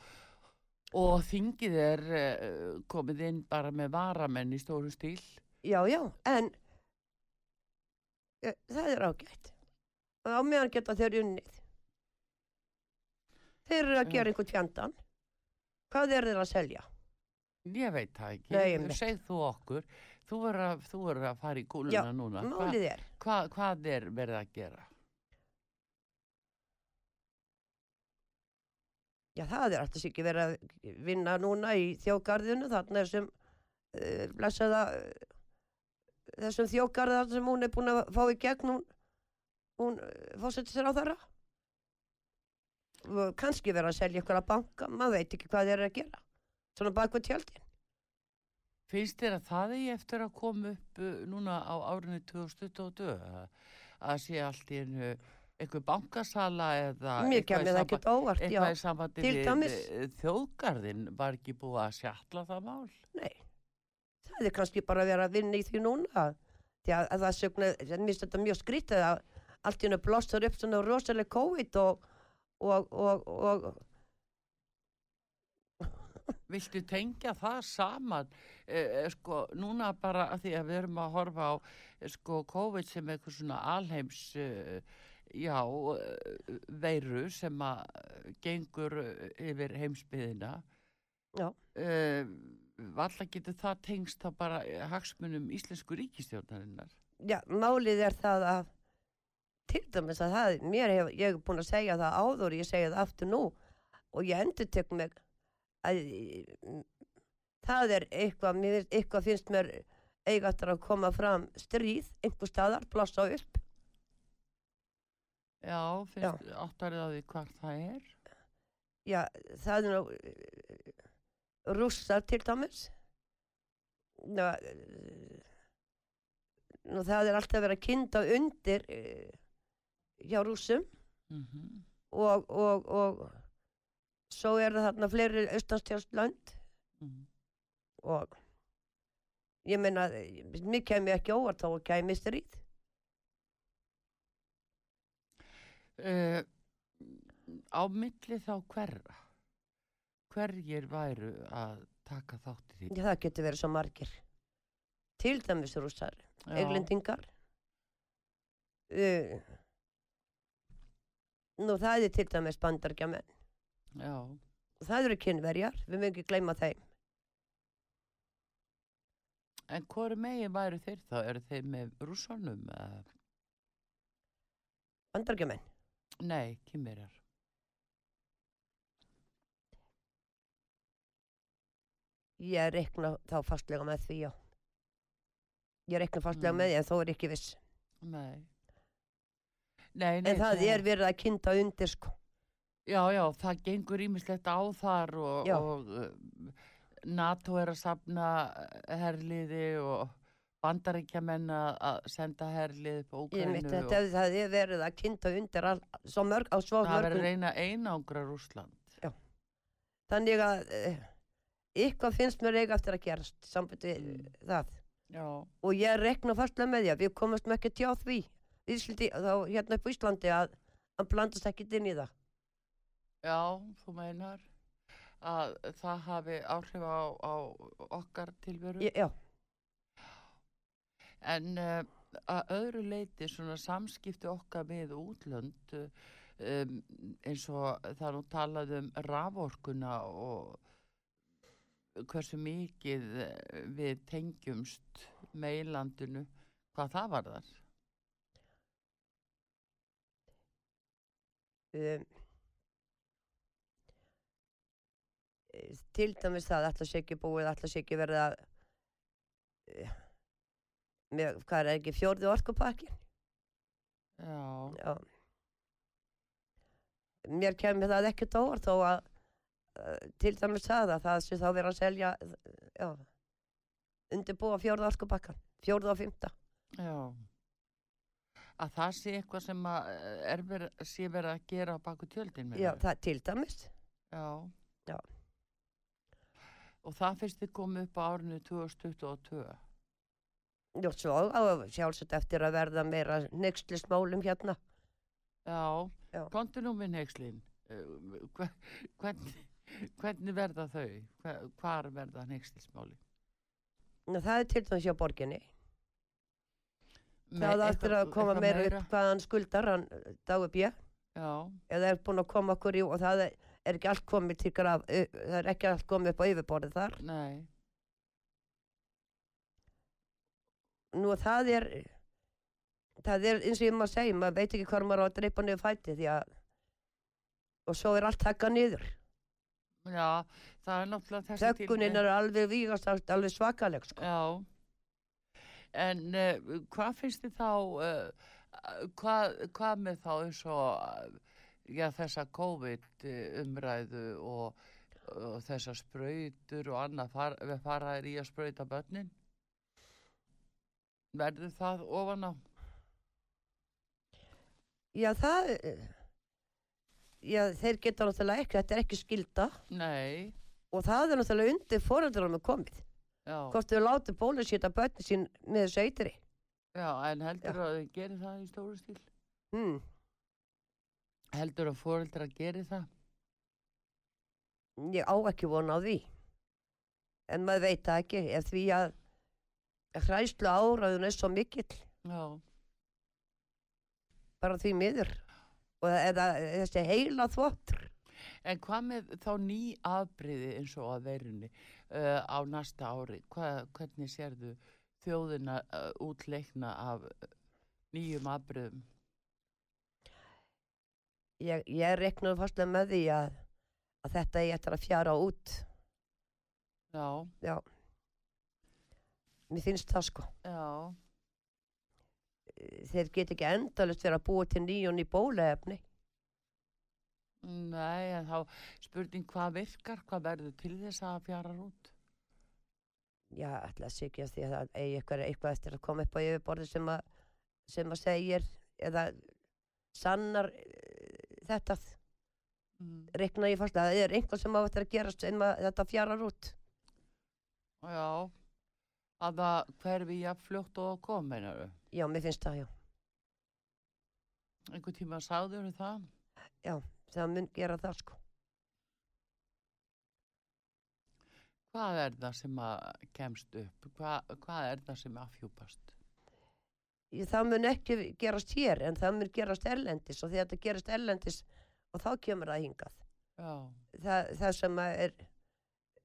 [SPEAKER 3] og þingið er eh, komið inn bara með varamenn í stóru stíl.
[SPEAKER 4] Já, já, en e, það er ágætt. Og á meðan geta þeir unnið. Þeir eru að
[SPEAKER 3] Já.
[SPEAKER 4] gera einhvern fjandan. Hvað eru þeir að selja?
[SPEAKER 3] Ég veit það ekki.
[SPEAKER 4] Nei, einmitt.
[SPEAKER 3] Segð þú okkur. Þú verður að, þú verður að fara í gúluna núna. Hvað-
[SPEAKER 4] Málið er,
[SPEAKER 3] Hva, hvað er verið að gera?
[SPEAKER 4] já það er alltaf ekki verið að vinna núna í þjóðgarðinu, þarna þessum uh, blessaða uh, þessum þjóðgarða sem hún er búin að fá í gegn hún, hún uh, fórseti sér á þeirra og kannski verið að selja ykkur að banka, maður veit ekki hvað þeir eru að gera svona bakvæð tjaldin
[SPEAKER 3] Finnst þér að það eigi eftir að koma upp uh, núna á árinu 2022? Að- Að sé allt í einu einhver bankasala eða eitthvað
[SPEAKER 4] Mér
[SPEAKER 3] í
[SPEAKER 4] kemur það
[SPEAKER 3] samband-
[SPEAKER 4] ekkert óvart, já.
[SPEAKER 3] eitthvað í sambandi
[SPEAKER 4] Til
[SPEAKER 3] við
[SPEAKER 4] dæmis-
[SPEAKER 3] eh, þjóðgarðinn var ekki búið að sjatla það mál.
[SPEAKER 4] Nei, það er kannski bara að vera að vinna í því núna. Því að, að það sögna, mér finnst þetta mjög skrítið að allt í hennu blossar upp svona rosaleg COVID og, og, og, og,
[SPEAKER 3] Viltu tengja það saman? E, e, sko, núna eh, bara að því að við erum að horfa á e, sko, COVID sem eitthvað svona alheims e, já, eh, veiru sem að eh, gengur eh, yfir heimsbyðina.
[SPEAKER 4] Já.
[SPEAKER 3] Uh, Valla getur það tengst þá bara eh, hagsmunum íslensku ríkistjórnarinnar.
[SPEAKER 4] já, málið er það að til dæmis að það, mér hef, ég hef búin að segja það áður, ég segja það aftur nú og ég endur tek mig að mm, það er eitthvað, mér finnst, eitthvað finnst mér eiga eftir að koma fram stríð, einhver staðar, blossa upp
[SPEAKER 3] Já, finnst áttarið á því hvað það er.
[SPEAKER 4] já, það er nú eh, rússar til dæmis Ná, eh, nú það er alltaf verið að kynda undir eh, hjá rússum
[SPEAKER 3] Mm
[SPEAKER 4] og, og, og svo er það þarna fleiri austanstjálfsland
[SPEAKER 3] Mhm.
[SPEAKER 4] og ég meina, eh, mér kemur ekki óvart þá að kemur stríð.
[SPEAKER 3] uh, á milli þá hverra hverjir væru að taka þátt í því
[SPEAKER 4] Já, það getur verið svo margir. Til dæmis rússar,
[SPEAKER 3] Já.
[SPEAKER 4] eglendingar. Uh, nú það er til dæmis bandargjamenn.
[SPEAKER 3] já,
[SPEAKER 4] Það eru kynverjar, við mögum ekki gleyma þeim.
[SPEAKER 3] en hvori megin væru þeir þá eru þeir með rússanum eða?
[SPEAKER 4] Bandargjamenn.
[SPEAKER 3] nei, kýmverjar
[SPEAKER 4] Ég reikna þá fastlega með því, já. Ég reikna fastlega
[SPEAKER 3] Mm.
[SPEAKER 4] með því en þó er ég ekki viss.
[SPEAKER 3] nei Nei, nei,
[SPEAKER 4] En það er verið að kynda undir sko.
[SPEAKER 3] já, já, það gengur ímislegt á þar og,
[SPEAKER 4] Já.
[SPEAKER 3] og um, NATO er að safna eh, herliði og bandaríkjamenn að að senda herlið upp á
[SPEAKER 4] Ég
[SPEAKER 3] Úkraínu
[SPEAKER 4] mitt,
[SPEAKER 3] og-
[SPEAKER 4] þetta, það er verið að kynda undir all, svo mörg, á svo
[SPEAKER 3] Það verður
[SPEAKER 4] mörgum.
[SPEAKER 3] að reyna að einangra Rúsland.
[SPEAKER 4] Þannig að uh, eitthvað finnst mér eiga eftir að gerast sambandi við
[SPEAKER 3] Mm.
[SPEAKER 4] það.
[SPEAKER 3] Já.
[SPEAKER 4] Og ég reikna fastlega með því að við komast með ekki tjá því. Íslandi, þá hérna upp á Íslandi að hann blandast ekki inn í það.
[SPEAKER 3] þú meinar að það hafi áhrif á, á okkar tilveru.
[SPEAKER 4] Ég, já,
[SPEAKER 3] En uh, að öðru leiti svona samskipti okkar með útlönd eh, um, eins og það er nú talað um raforkuna og hversu mikið eh, við tengjumst meilandinu, hvað það var þar?
[SPEAKER 4] um, eh, til dæmis það alltaf sé ekki búið, alltaf sé ekki verið að uh, með, hvað er ekki fjórði orkupakki?
[SPEAKER 3] Já.
[SPEAKER 4] Já. Mér kemur það ekkert óvart þó að uh, til dæmis það að það sé þá verið að selja, uh, já, undirbúa fjórða orkubakkan, fjórða og fymta.
[SPEAKER 3] Já. Að það sé eitthvað sem að eh, er verið, sé verið að gera á baku tjöldin með
[SPEAKER 4] Já, það til dæmis.
[SPEAKER 3] Já.
[SPEAKER 4] Já.
[SPEAKER 3] Og það fyrst þið komið upp á árinu 2022.
[SPEAKER 4] Jú, svo á sjálfsagt eftir að verða meira nextlismálum hérna.
[SPEAKER 3] Já.
[SPEAKER 4] Já.
[SPEAKER 3] Kontu nú minn heikslinn. Hvernig, hvernig verða þau? Hve- Hvar verða neykslismáli?
[SPEAKER 4] Nú, það er til dæmis hjá borginni. það er eftir að koma meira upp hvað hann skuldar, hann eh, dagur bjö,
[SPEAKER 3] Já.
[SPEAKER 4] eða er búin að koma okkur í og það er, er ekki allt komið til graf, ö- það er ekki allt komið upp á yfirborðið þar.
[SPEAKER 3] Nei.
[SPEAKER 4] nú það er það er eins og ég maður segi maður veit ekki hvað maður á að dreipa niður fæti því að og svo er allt takkað niður
[SPEAKER 3] Já, það er náttúrulega þessi
[SPEAKER 4] þöggunin er alveg vígast allt- alveg svakaleg sko.
[SPEAKER 3] Já, en uh, hvað finnst þið þá, uh, hvað, hvað með þá eins og uh, já, þessa COVID eh, umræðu og, og þessa sprautur og annað, far, við faraðir í að sprauta börnin? Verður það ofan á?
[SPEAKER 4] já það já þeir geta náttúrulega ekki þetta er ekki skilda
[SPEAKER 3] Nei,
[SPEAKER 4] og það er náttúrulega undir foreldranum komið
[SPEAKER 3] já,
[SPEAKER 4] hvort þau láti bólusýta börni sín með þessu eitri
[SPEAKER 3] já en heldur að þið gerir það í stóru stíl?
[SPEAKER 4] hmm.
[SPEAKER 3] Heldur að fóreldra gerir það?
[SPEAKER 4] ég á ekki vona á því en maður veit það ekki ef því að hræslu áraðun er svo mikill
[SPEAKER 3] Já,
[SPEAKER 4] bara því miður og eða þessi heila þvottur
[SPEAKER 3] En hvað með þá ný afbreyði eins og að verunni uh, á næsta ári? Hva, hvernig sérðu þjóðina uh, útleikna af uh, nýjum afbreyðum?
[SPEAKER 4] ég, ég reknaði fastlega með því að, að þetta ég ætla að fjara út
[SPEAKER 3] Já,
[SPEAKER 4] já mér finnst það sko
[SPEAKER 3] já,
[SPEAKER 4] þeir get ekki endalist verið að búa til nýjón í bólaefni
[SPEAKER 3] nei, en þá spurning hvað virkar, hvað verður til þess að fjara út?
[SPEAKER 4] já, ætla að sykja því að það eigi eitthvað, eitthvað eftir að koma upp á yfirborði sem að, sem að segir eða sannar eh, þetta
[SPEAKER 3] Mm.
[SPEAKER 4] rekna ég fastlega, það er einhver sem á eftir að gerast sem að þetta fjarar út
[SPEAKER 3] Já, að það hverfi jafn fljótt og kom, meinaru.
[SPEAKER 4] já, mér finnst það, já,
[SPEAKER 3] Einhver tíma sagður það?
[SPEAKER 4] það mun gera það sko
[SPEAKER 3] Hvað er það sem að kemst upp? Hva, hvað er það sem afhjúpast?
[SPEAKER 4] Ég- það mun ekki gerast hér en það mun gerast erlendis og þegar þetta gerast erlendis og þá kemur það hingað
[SPEAKER 3] Já,
[SPEAKER 4] það, það sem að er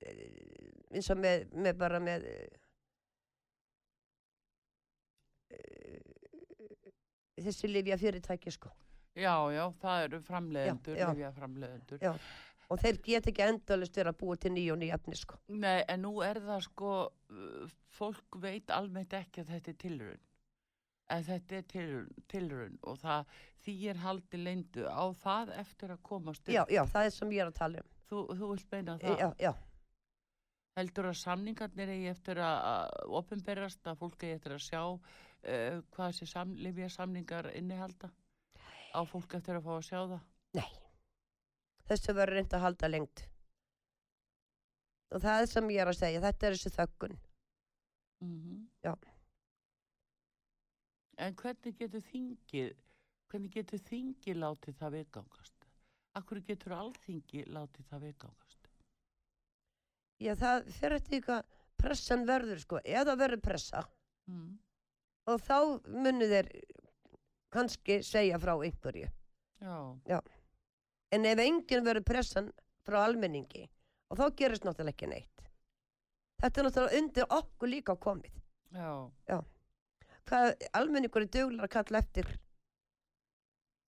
[SPEAKER 4] eh, eins og með, með bara með eh, eh, þessi lifja fyrirtæki sko
[SPEAKER 3] já, já, það eru framleiðendur,
[SPEAKER 4] Já, já.
[SPEAKER 3] nýja framleiðendur.
[SPEAKER 4] Já. og þeir get ekki endalist verið að búa til nýjón í efni sko
[SPEAKER 3] Nei, en nú er það sko, uh, fólk veit almennt ekki að þetta er tilraun. En þetta er tilraun, tilraun og það þýr haldi leyndu á það eftir að komast upp.
[SPEAKER 4] já, já, það er sem ég er að tala um
[SPEAKER 3] Þú, þú vilt meina það?
[SPEAKER 4] já, já,
[SPEAKER 3] Heldur að samningarnir eigi eftir að- að opinberast, að fólk eigi eftir að sjá uh, hvað þessi sam, lifja samningar innihalda? Á fólk eftir að fá að sjá það?
[SPEAKER 4] nei þessu verður reynd að halda lengt og það er sem ég er að segja þetta er þessi þöggun Já.
[SPEAKER 3] Mm-hmm. En hvernig getur þingið, hvernig getur þingið látið það viðgangast? Akkur getur alþingi látið það viðgangast?
[SPEAKER 4] Já, það fer eftir hvað pressan verður, sko, eða verður pressa
[SPEAKER 3] Mm.
[SPEAKER 4] og þá munu þeir kannski segja frá einhverju.
[SPEAKER 3] Já,
[SPEAKER 4] En ef enginn verður pressan frá almenningi og þá gerist náttúrulega ekki neitt. Þetta er náttúrulega undir okkur líka komið.
[SPEAKER 3] já,
[SPEAKER 4] Hvað almenningur er duglar að kalla eftir?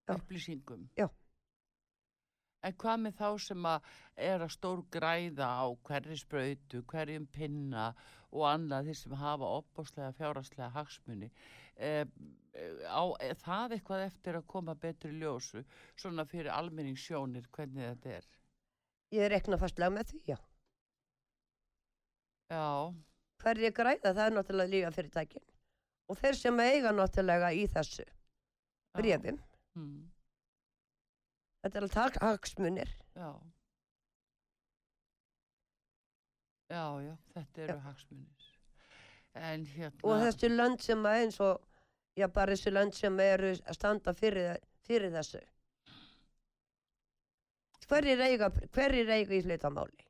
[SPEAKER 4] Já.
[SPEAKER 3] upplýsingum.
[SPEAKER 4] Já.
[SPEAKER 3] En hvað með þá sem að er að stór græða á hverri sprautu, hverjum pinna og annað þeir sem hafa opbóslega, fjáraslega hagsmuni, eh, eh, á, er það eitthvað eftir að koma betri ljósu, svona fyrir almenningssjónir hvernig þetta er?
[SPEAKER 4] Ég rekna fastlega með því, já.
[SPEAKER 3] Já,
[SPEAKER 4] Hverju græða, það er náttúrulega líka fyrirtækin. Og þeir sem eiga náttúrulega í þessu
[SPEAKER 3] já.
[SPEAKER 4] brefum,
[SPEAKER 3] Mm,
[SPEAKER 4] þetta er alveg hagsmunir.
[SPEAKER 3] já. Já, já, þetta eru hagsmunir. En hérna...
[SPEAKER 4] og þessi lönd sem að eins og já bara þessi lönd sem eru að standa fyrir, fyrir þessu hverjir eiga hverjir eiga í hlutamáli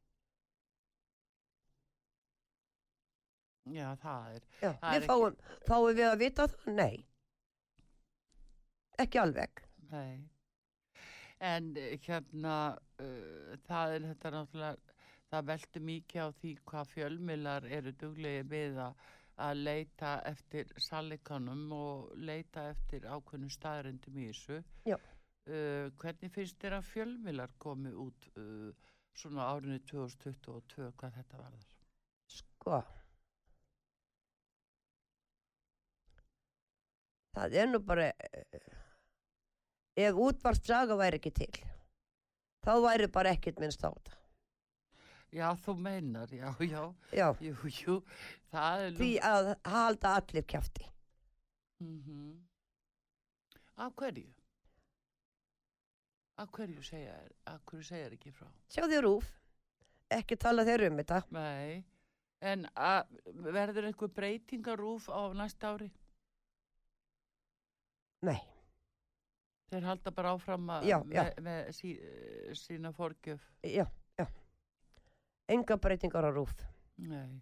[SPEAKER 3] Já, það er.
[SPEAKER 4] já,
[SPEAKER 3] Það er
[SPEAKER 4] við fáum, fáum við að vita það? Nei ekki alveg
[SPEAKER 3] Nei. En eh, hérna, uh, það er þetta náttúrulega, það veldur mikið á því hvað fjölmiðlar eru duglegi við að, að leita eftir sallikanum og leita eftir ákveðnum staðrendum í þessu.
[SPEAKER 4] Já.
[SPEAKER 3] Uh, hvernig finnst þér að fjölmiðlar komi út uh, svona árinu 2022 hvað þetta varðar?
[SPEAKER 4] sko það er nú bara eh, ef útvarpsaga væri ekki til þá væri bara ekkert minnst á þetta
[SPEAKER 3] Já, þú meinar, já, já,
[SPEAKER 4] já
[SPEAKER 3] jú, jú, það er
[SPEAKER 4] því að halda allir kjafti
[SPEAKER 3] Mm Af hverju? Af hverju segja þér, af hverju segja þér ekki frá?
[SPEAKER 4] sjáðu rúf, ekki tala þeir um þetta
[SPEAKER 3] Nei, en að, verður einhver breytingarúf á næsta ári?
[SPEAKER 4] nei,
[SPEAKER 3] Þeir halda bara áfram að
[SPEAKER 4] Já, já.
[SPEAKER 3] með, með sí, eh, sína forgjöf.
[SPEAKER 4] já, já enga breytingar á rúf
[SPEAKER 3] Nei.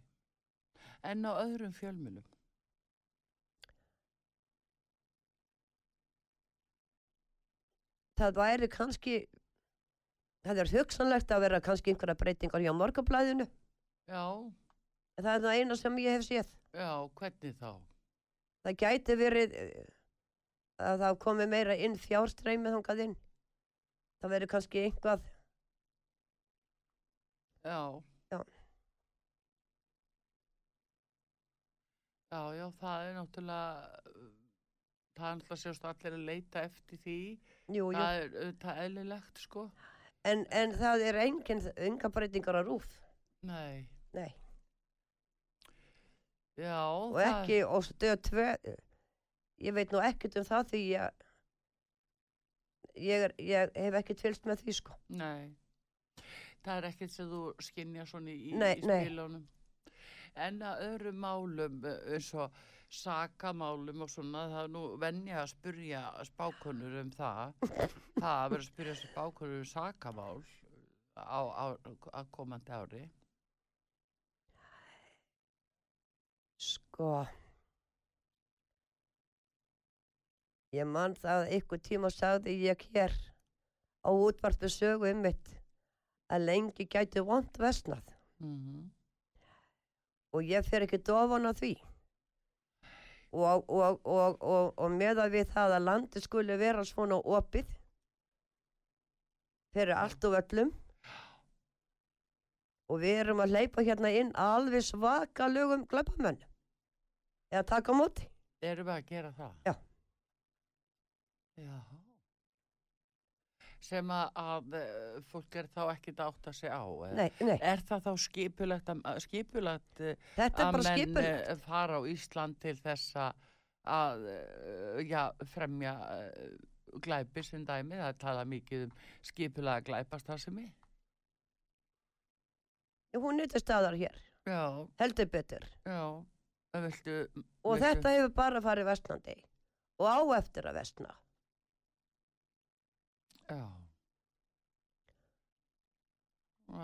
[SPEAKER 3] En á öðrum fjölmunum?
[SPEAKER 4] það væri kannski það er hugsanlegt að vera kannski einhverja breytingar hjá morgablæðinu
[SPEAKER 3] Já,
[SPEAKER 4] það er það eina sem ég hef séð
[SPEAKER 3] já, hvernig þá?
[SPEAKER 4] það gæti verið eh, að það komi meira inn fjárstreymið þangað inn það verið kannski einhvað
[SPEAKER 3] Já.
[SPEAKER 4] Já.
[SPEAKER 3] Já, já, það er náttúrulega, uh, það er náttúrulega sérst allir að leita eftir því.
[SPEAKER 4] jú, jú.
[SPEAKER 3] Það er auðvitað eðlilegt, sko.
[SPEAKER 4] En, en það er engin enga breytingar á rúf
[SPEAKER 3] Nei.
[SPEAKER 4] Nei.
[SPEAKER 3] Já,
[SPEAKER 4] og ekki, og stöð tvö ég veit nú ekkert um það því ég ég, er, ég hef ekki tvilst með því sko
[SPEAKER 3] Nei. Það er ekkert sem þú skinja svona í,
[SPEAKER 4] Nei,
[SPEAKER 3] í
[SPEAKER 4] nei.
[SPEAKER 3] spilunum. En að öðru málum eh, eins og sakamálum og svona, það er nú venja að spyrja spákonur um það. það að vera að spyrja spákonur um sakamál á, á, á komandi ári.
[SPEAKER 4] sko ég man það að ykkur tíma sagði ég hér á útvartu sögu um mitt að lengi gæti vond vestnað
[SPEAKER 3] Mm
[SPEAKER 4] Mhm. og ég fer ekki dofan á því og, og, og, og, og með að við það að landi skuli vera svona opið fyrir allt og öllum og við erum að hleypa hérna inn alveg svaka lögum glæpamenn eða taka á móti
[SPEAKER 3] Erum við að gera það?
[SPEAKER 4] Já.
[SPEAKER 3] Já. Sem að, að eh, fólk er þá ekkert að átta sig á. eða?
[SPEAKER 4] nei, nei,
[SPEAKER 3] Er það þá skipulegt að, að- skipulegt eh,
[SPEAKER 4] þetta er
[SPEAKER 3] að
[SPEAKER 4] bara
[SPEAKER 3] menn
[SPEAKER 4] skipun
[SPEAKER 3] eh, fara á Ísland til þess að- að eh, já, fremja eh, glæpi sem dæmi, það er talað mikið um skipulega glæpast það sem ég.
[SPEAKER 4] hún er til staðar hér,
[SPEAKER 3] Já,
[SPEAKER 4] heldur betur
[SPEAKER 3] já, það viltu,
[SPEAKER 4] og
[SPEAKER 3] Vissu.
[SPEAKER 4] þetta hefur bara farið vestnandi og á eftir að vestna
[SPEAKER 3] já.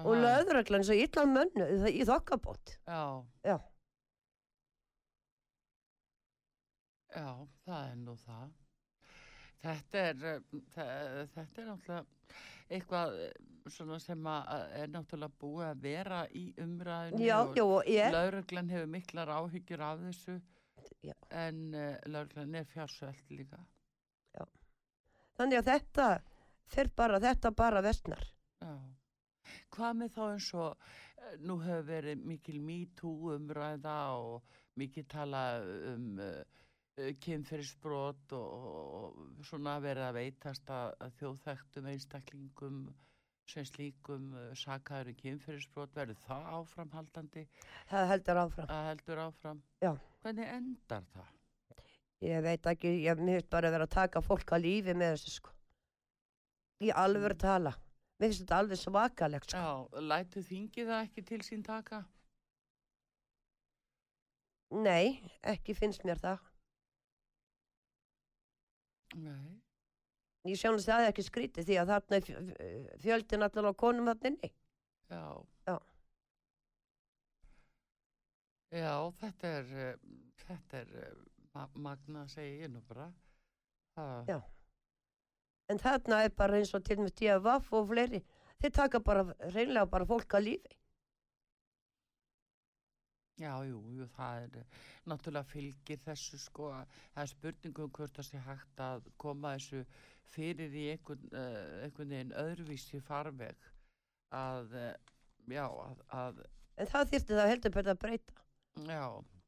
[SPEAKER 4] og löðuröglann svo illa mönnu í þokkabót
[SPEAKER 3] Já.
[SPEAKER 4] Já.
[SPEAKER 3] Já, það er nú það. Þetta er, eh, þe- þetta er náttúrulega eitthvað eh, svona sem að að er náttúrulega búið að vera í umræðinu
[SPEAKER 4] já, já, og ég
[SPEAKER 3] lauruglan hefur miklar áhyggjur af þessu
[SPEAKER 4] Já.
[SPEAKER 3] en uh, lauruglan er fjársvelt líka.
[SPEAKER 4] Þannig að þetta fer bara, þetta bara vestnar.
[SPEAKER 3] Já. Hvað með þá eins og eh, nú hefur verið mikil MeToo umræða og mikil tala um uh, kynferðisbrot og, og, og svona verið að veitast að, að þjóðþektum einstaklingum sem slíkum eh, sakaður um kynferðisbrot verður það áframhaldandi
[SPEAKER 4] Það heldur áfram.
[SPEAKER 3] að heldur áfram?
[SPEAKER 4] Já.
[SPEAKER 3] Hvernig endar það?
[SPEAKER 4] Ég veit ekki, ég myndist bara að vera að taka fólk að lífi með þessu sko. Í alvöru tala. Mér finnst þetta alveg svakalegt sko.
[SPEAKER 3] Já, lætu þingi það ekki til sín taka?
[SPEAKER 4] Nei, ekki finnst mér það.
[SPEAKER 3] Nei.
[SPEAKER 4] Ég sjáum það er ekki skrítið því að þarna er fjö- fjö- fjöldin allan á konum þarna inni.
[SPEAKER 3] Já.
[SPEAKER 4] Já.
[SPEAKER 3] Já, þetta er, eh, þetta er eh, ma magna segi ég nú bara. Það,
[SPEAKER 4] Já. En þarna er bara eins og til með tíða vaff og fleiri. Þeir taka bara, reynlega bara fólk að lífi.
[SPEAKER 3] já, jú, jú, það er eh, náttúrulega fylgir þessu sko að það er spurningum hvort það sé hægt að koma þessu fyrir í einhvern, uh, einhvern veginn öðruvísi farveg að, uh, já, að, að,
[SPEAKER 4] En það þyrfti það heldur betur að breyta.
[SPEAKER 3] já,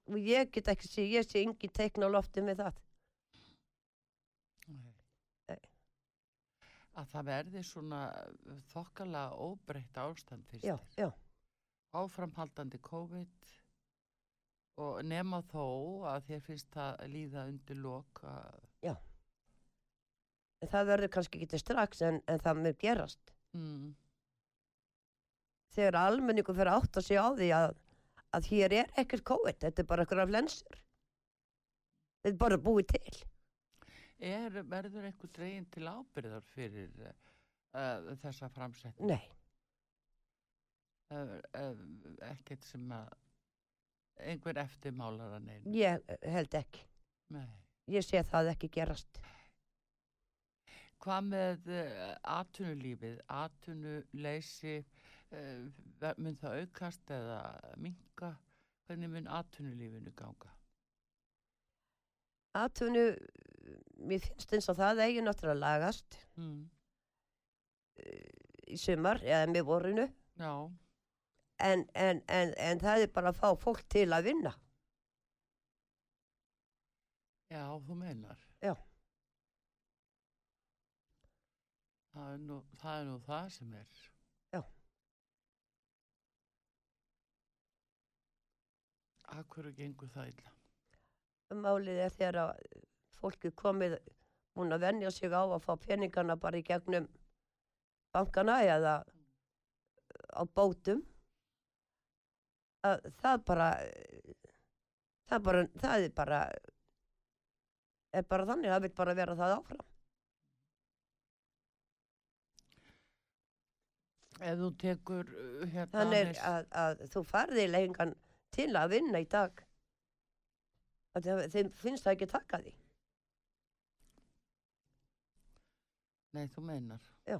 [SPEAKER 4] Og ég get ekki sé, ég sé engin teikn á lofti með það.
[SPEAKER 3] Nei.
[SPEAKER 4] Nei.
[SPEAKER 3] að það verði svona eh, þokkalega óbreytt ástand fyrir
[SPEAKER 4] Já, já.
[SPEAKER 3] áframhaldandi COVID og nema þó að þér finnst það líða undir lok að,
[SPEAKER 4] En það verður kannski ekki til strax en, en það mér gerast
[SPEAKER 3] mm,
[SPEAKER 4] þegar almenningur fyrir átt að segja á því að, að hér er ekkert COVID þetta er bara eitthvað flensur þetta er bara búið til
[SPEAKER 3] er, verður einhver dregin til ábyrðar fyrir uh, þessa framsetning
[SPEAKER 4] nei,
[SPEAKER 3] uh, uh, ekkert sem að einhver eftirmálar að neina
[SPEAKER 4] ég eh, held ekki
[SPEAKER 3] Nei.
[SPEAKER 4] ég sé það ekki gerast
[SPEAKER 3] Hvað með uh, atvinnulífið, atvinnuleysi, uh, ver- mun það aukast eða minka? Hvernig mun atvinnulífinu ganga?
[SPEAKER 4] Atvinnu, mér finnst eins og það eigi náttúrulega að lagast
[SPEAKER 3] Mm.
[SPEAKER 4] í sumar eða með vorinu
[SPEAKER 3] Já,
[SPEAKER 4] en, en, en, en það er bara að fá fólk til að vinna.
[SPEAKER 3] já, þú meinar.
[SPEAKER 4] Já.
[SPEAKER 3] Það er nú það, er nú það sem er.
[SPEAKER 4] Já.
[SPEAKER 3] Akkur gengur það illa.
[SPEAKER 4] um Málið er þegar að fólki komið búin að venja sig á að fá peningana bara í gegnum bankana eða á bótum. Að það bara, það bara, það er bara, er bara þannig, það vil bara vera það áfram.
[SPEAKER 3] Ef þú tekur uh, hérna
[SPEAKER 4] Þannig
[SPEAKER 3] aðeins-
[SPEAKER 4] að, að þú farði lengan til að vinna í dag. Af því að Þeim finnst það ekki taka því.
[SPEAKER 3] Nei, þú meinar.
[SPEAKER 4] Já.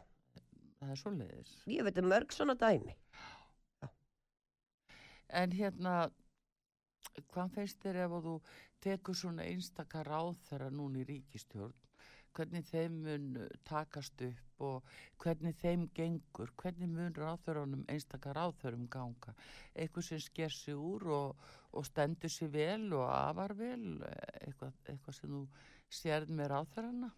[SPEAKER 3] Það er svo leiðis.
[SPEAKER 4] Ég veit um mörg svona dæmi.
[SPEAKER 3] En hérna, hvað finnst þér ef að þú tekur svona einstaka ráð þeirra núna í ríkistjórn? Hvernig þeim mun uh, takast upp og hvernig þeim gengur? Hvernig mun ráðþörunum, einstaka ráðþörum ganga? Eitthvað sem sker sig úr og, og stendur sig vel og afar vel? eh, Eitthvað, eitthvað sem þú sérð með ráðþörana?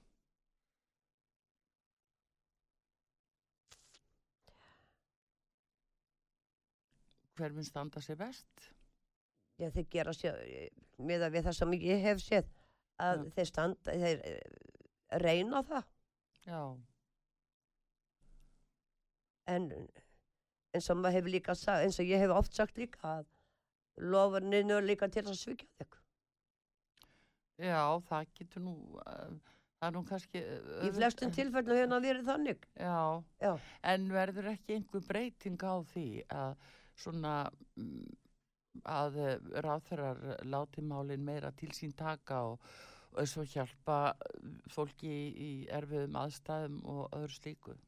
[SPEAKER 3] Hver mun standa sig best?
[SPEAKER 4] Ég þeir gera sér, með að við það sem ég hef séð, að
[SPEAKER 3] Já.
[SPEAKER 4] þeir standa, þeir eh, reyna það.
[SPEAKER 3] Já,
[SPEAKER 4] En eins og maður hefur líka sagt, eins og ég hef oft sagt líka að lofarninu líka til að svikja þig.
[SPEAKER 3] já, það getur nú, eh, það er nú kannski... eh,
[SPEAKER 4] Í flestum
[SPEAKER 3] auðvelt-
[SPEAKER 4] tilfellum hefur það verið þannig.
[SPEAKER 3] Já,
[SPEAKER 4] Já.
[SPEAKER 3] en verður ekki einhver breyting á því að svona mm, að ráþurar láti málin meira til sín taka og, og svo hjálpa eh, fólki í, í erfiðum aðstæðum og öðru slíku.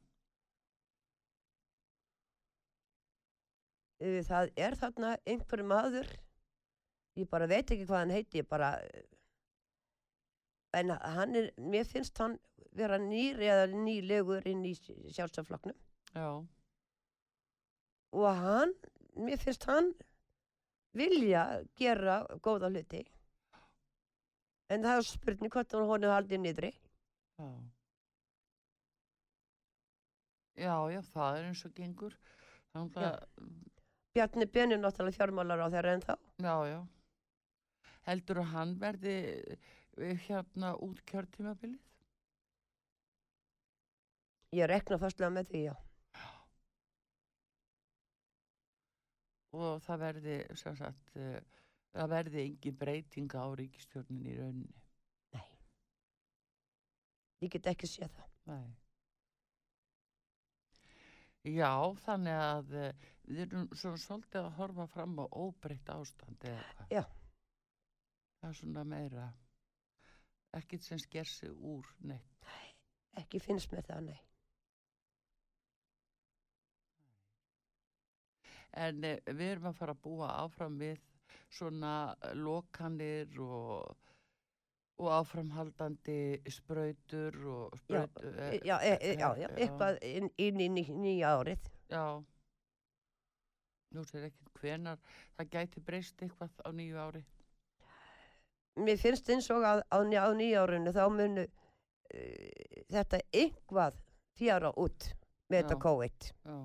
[SPEAKER 4] Eh, það er þarna einhver maður ég bara veit ekki hvað hann heiti ég bara en hann er, mér finnst hann vera nýr eða nýlegur inn í sjálfstaflokknum
[SPEAKER 3] Já,
[SPEAKER 4] og hann, mér finnst hann vilja gera góða hluti en það er spurning hvort hann honum haldið niðri
[SPEAKER 3] já. Já, já, það er eins og gengur. Þannig
[SPEAKER 4] Já.
[SPEAKER 3] að
[SPEAKER 4] Bjarni Ben er náttúrulega fjármálar á þeirra en þá
[SPEAKER 3] Já, já. Heldur að hann verði eh, hérna út kjörtímabilið?
[SPEAKER 4] ég rekna fastlega með því já
[SPEAKER 3] Og það verði, sem sagt, eh, það verði engin breyting á ríkistjórnin í rauninni.
[SPEAKER 4] ég get ekki séð það
[SPEAKER 3] Nei. Já, þannig að eh, við erum svona svolítið að horfa fram á óbreytt ástand eða hvað.
[SPEAKER 4] Já.
[SPEAKER 3] Það er svona meira, ekkert sem sker sig úr neitt.
[SPEAKER 4] ekki finnst með það, nei
[SPEAKER 3] en eh, við erum að fara að búa áfram við svona eh, lokanir og, og áframhaldandi spröytur og eh,
[SPEAKER 4] Já,
[SPEAKER 3] spröytur.
[SPEAKER 4] E- já, e, e, já, já, eitthvað inn, inn í ný, nýja árið
[SPEAKER 3] Já. Nú sér ekkert hvenar, það gæti breyst eitthvað á nýju ári.
[SPEAKER 4] mér finnst eins og að á, ný- á nýja árinu þá munu uh, þetta eitthvað fjara út með þetta
[SPEAKER 3] Já.
[SPEAKER 4] COVID
[SPEAKER 3] Já.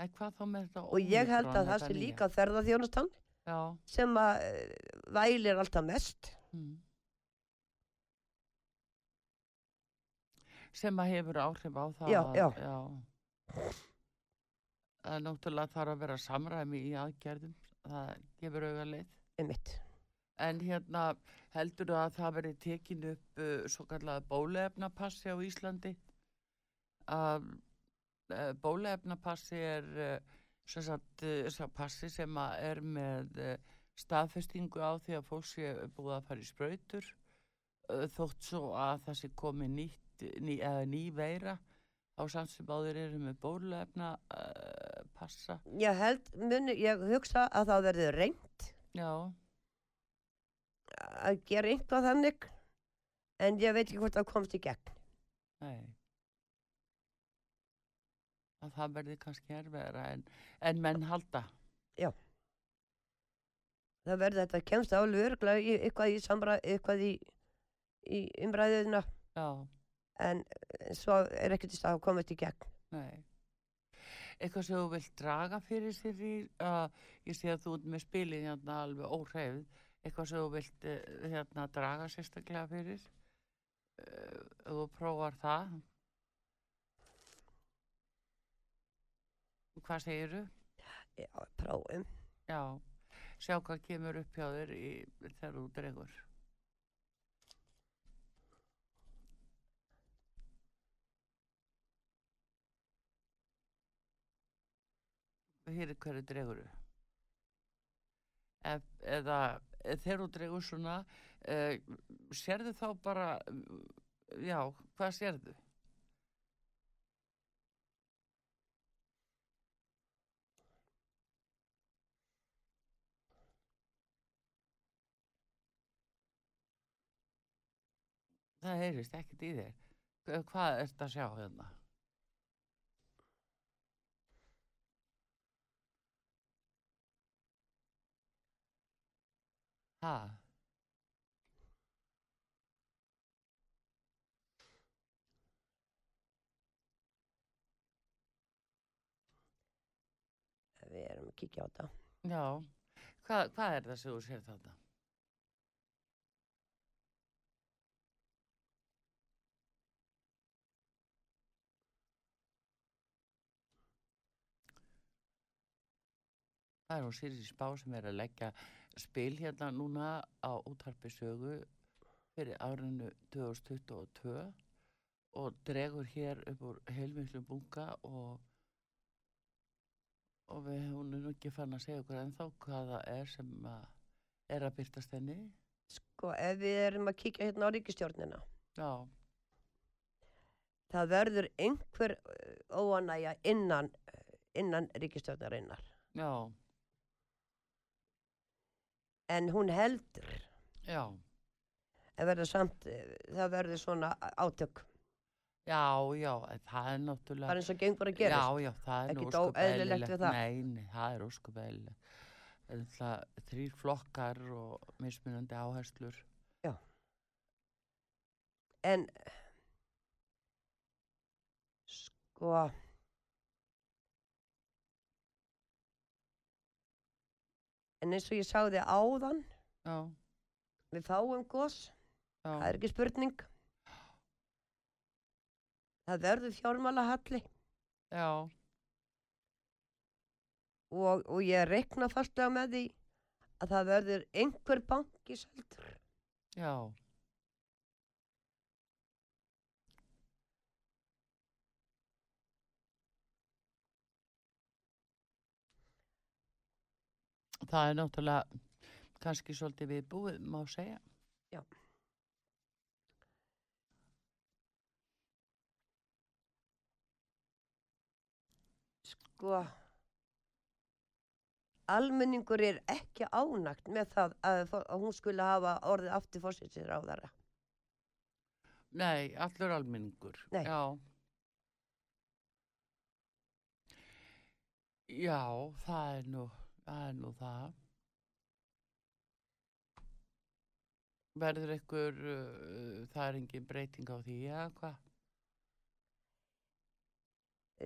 [SPEAKER 3] En hvað þá með þetta
[SPEAKER 4] og ég
[SPEAKER 3] Ómikron,
[SPEAKER 4] held að það
[SPEAKER 3] þetta
[SPEAKER 4] sé
[SPEAKER 3] nýja?
[SPEAKER 4] líka ferðarþjónustan
[SPEAKER 3] Já,
[SPEAKER 4] sem að uh, vælir alltaf mest
[SPEAKER 3] mm. sem að hefur áhrif á það
[SPEAKER 4] Já,
[SPEAKER 3] að-
[SPEAKER 4] já.
[SPEAKER 3] já að náttúrulega þarf að vera samræmi í aðgerðum það gefur auga leið
[SPEAKER 4] einmitt.
[SPEAKER 3] en hérna heldur að það verði tekin upp uh, svo kallaða bólefnapassi á Íslandi að uh, bólefnapassi er uh, sem sagt uh, sá passi sem að er með uh, staðfestingu á því að fólk sé búið að fara í sprautur uh, þótt svo að það sé komið nýtt, ný, eða ný veira á samt sem áður eru með bóluefna uh, passa.
[SPEAKER 4] Ég held, muni, ég hugsa að það verður reynd
[SPEAKER 3] Já,
[SPEAKER 4] að gera einhvað þannig en ég veit ekki hvort það komst í gegn.
[SPEAKER 3] nei. Að það verði kannski erfiðara en, en menn halda.
[SPEAKER 4] Það verður þetta kemst alveg örglega í eitthvað í samra, eitthvað í, í umræðuna
[SPEAKER 3] Já,
[SPEAKER 4] en eh, svo er ekkert í stað að komast í gegn.
[SPEAKER 3] nei. Eitthvað sem þú vilt draga fyrir sér í, uh, ég sé að þú ert með spilin hérna alveg óhreyfð, eitthvað sem þú vilt uh, hérna draga sérstaklega fyrir, uh, ef þú prófar það. Hvað segiru?
[SPEAKER 4] Já, prófum.
[SPEAKER 3] Já, sjá hvað kemur upp hjá þér í, þegar þú dregur. Hér er hverju dreguru. Ef, eða e, þegar þú dregur svona, e, sérðu þá bara, mm, já, hvað sérðu? Það heyrist ekkert í þér. Hva- Hvað ert að sjá hérna? Ha?
[SPEAKER 4] Við erum að kíkja á þetta.
[SPEAKER 3] Já. Hva, hvað er það sem þú sér þarna? Það er hún Sirius Bá sem er að leggja spil hérna núna á útarpi sögu fyrir árinu 2022 og dregur hér upp úr heilmiklu bunga og, og við, hún er nú ekki fann að segja okkur ennþá hvað það er sem að, er að byrtast henni.
[SPEAKER 4] Sko, ef við erum að kíkja hérna á ríkistjórnina,
[SPEAKER 3] Já,
[SPEAKER 4] það verður einhver eh, óánægja innan, eh, innan ríkistjórnarinnar.
[SPEAKER 3] já,
[SPEAKER 4] En hún heldur,
[SPEAKER 3] já,
[SPEAKER 4] en verður samt, eh, það verður svona átök.
[SPEAKER 3] já, já, en það er náttúrulega...
[SPEAKER 4] Það er eins og gengur að gerast.
[SPEAKER 3] Já, já, það er nú
[SPEAKER 4] Ekkert
[SPEAKER 3] ósköp
[SPEAKER 4] óeðlilegt
[SPEAKER 3] eðlilegt.
[SPEAKER 4] við það.
[SPEAKER 3] Nei, nei, það er ósköp eðlilegt. Það er náttúrulega þrýr flokkar og mismunandi áherslur.
[SPEAKER 4] en sko en eins og ég sagði áðan
[SPEAKER 3] Já,
[SPEAKER 4] við fáum gos,
[SPEAKER 3] já,
[SPEAKER 4] það er ekki spurning það verður fjármálahalli
[SPEAKER 3] já,
[SPEAKER 4] og, og ég reikna fastlega með því að það verður einhver banki seldur
[SPEAKER 3] já, Það er náttúrulega kannski svolítið viðbúið, má segja.
[SPEAKER 4] sko almenningur er ekki ánægt með það að, fó- að hún skulle hafa orðið aftur fórsinsir á þara
[SPEAKER 3] Nei, allur almenningur.
[SPEAKER 4] Nei.
[SPEAKER 3] Já. Já, það er nú, það er nú það. Verður einhver, uh, það er engin breyting á því, já, hvað?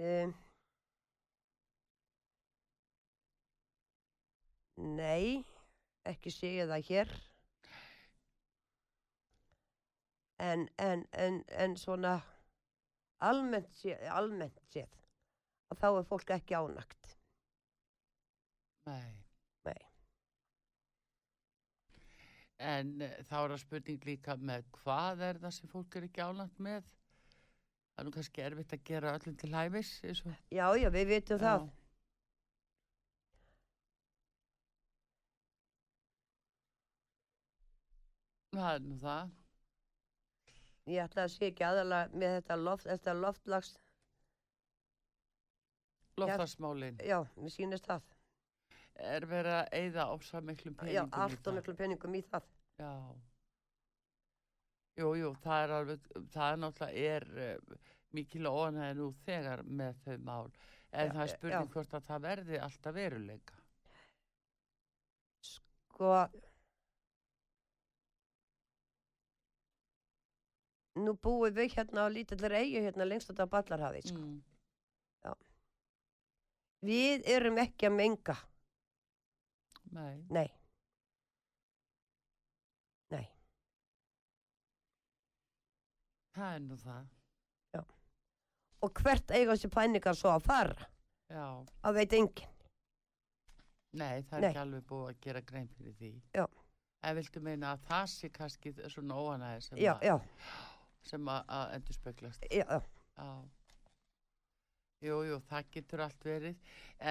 [SPEAKER 4] um, Nei, ekki segja það hér en, en, en, en svona almennt séð, almennt séð að þá er fólk ekki ánægt
[SPEAKER 3] Nei.
[SPEAKER 4] Nei.
[SPEAKER 3] En uh, þá er það spurning líka með hvað er það sem fólk er ekki ánægt með? Það er nú kannski erfitt að gera öllum til hæfis, eins og
[SPEAKER 4] Já, já, við vitum um það
[SPEAKER 3] Já. Það er nú það.
[SPEAKER 4] ég ætla að sé ekki aðalega með þetta, loft, þetta loftlags,
[SPEAKER 3] Loftarsmálin.
[SPEAKER 4] já, mér sýnist það.
[SPEAKER 3] Er verið að eyða ósa miklum peningum
[SPEAKER 4] Já,
[SPEAKER 3] í
[SPEAKER 4] allt og
[SPEAKER 3] það?
[SPEAKER 4] miklu peningum í það.
[SPEAKER 3] Já. Jú, jú, það er alveg, það er náttúrulega er uh, mikil óanæði nú þegar með þau mál. En
[SPEAKER 4] Já, eh,
[SPEAKER 3] það er
[SPEAKER 4] já.
[SPEAKER 3] spurning hvort að það verði alltaf veruleika.
[SPEAKER 4] Sko, nú búum við hérna á lítillir eigu hérna lengst út á Ballarhafi, sko.
[SPEAKER 3] Mm.
[SPEAKER 4] Við erum ekki að menga,
[SPEAKER 3] Nei,
[SPEAKER 4] nei. Nei,
[SPEAKER 3] það er nú það.
[SPEAKER 4] og hvert eiga þessi pæningar svo að fara,
[SPEAKER 3] Já,
[SPEAKER 4] að veit enginn.
[SPEAKER 3] nei, það er
[SPEAKER 4] Nei.
[SPEAKER 3] ekki alveg búið að gera grein fyrir því.
[SPEAKER 4] Já.
[SPEAKER 3] En viltu meina að það sé kannski svona óanæði sem,
[SPEAKER 4] Já,
[SPEAKER 3] að-
[SPEAKER 4] já,
[SPEAKER 3] sem að, að endur speglast?
[SPEAKER 4] já, já,
[SPEAKER 3] Já. Jú, jú, það getur allt verið,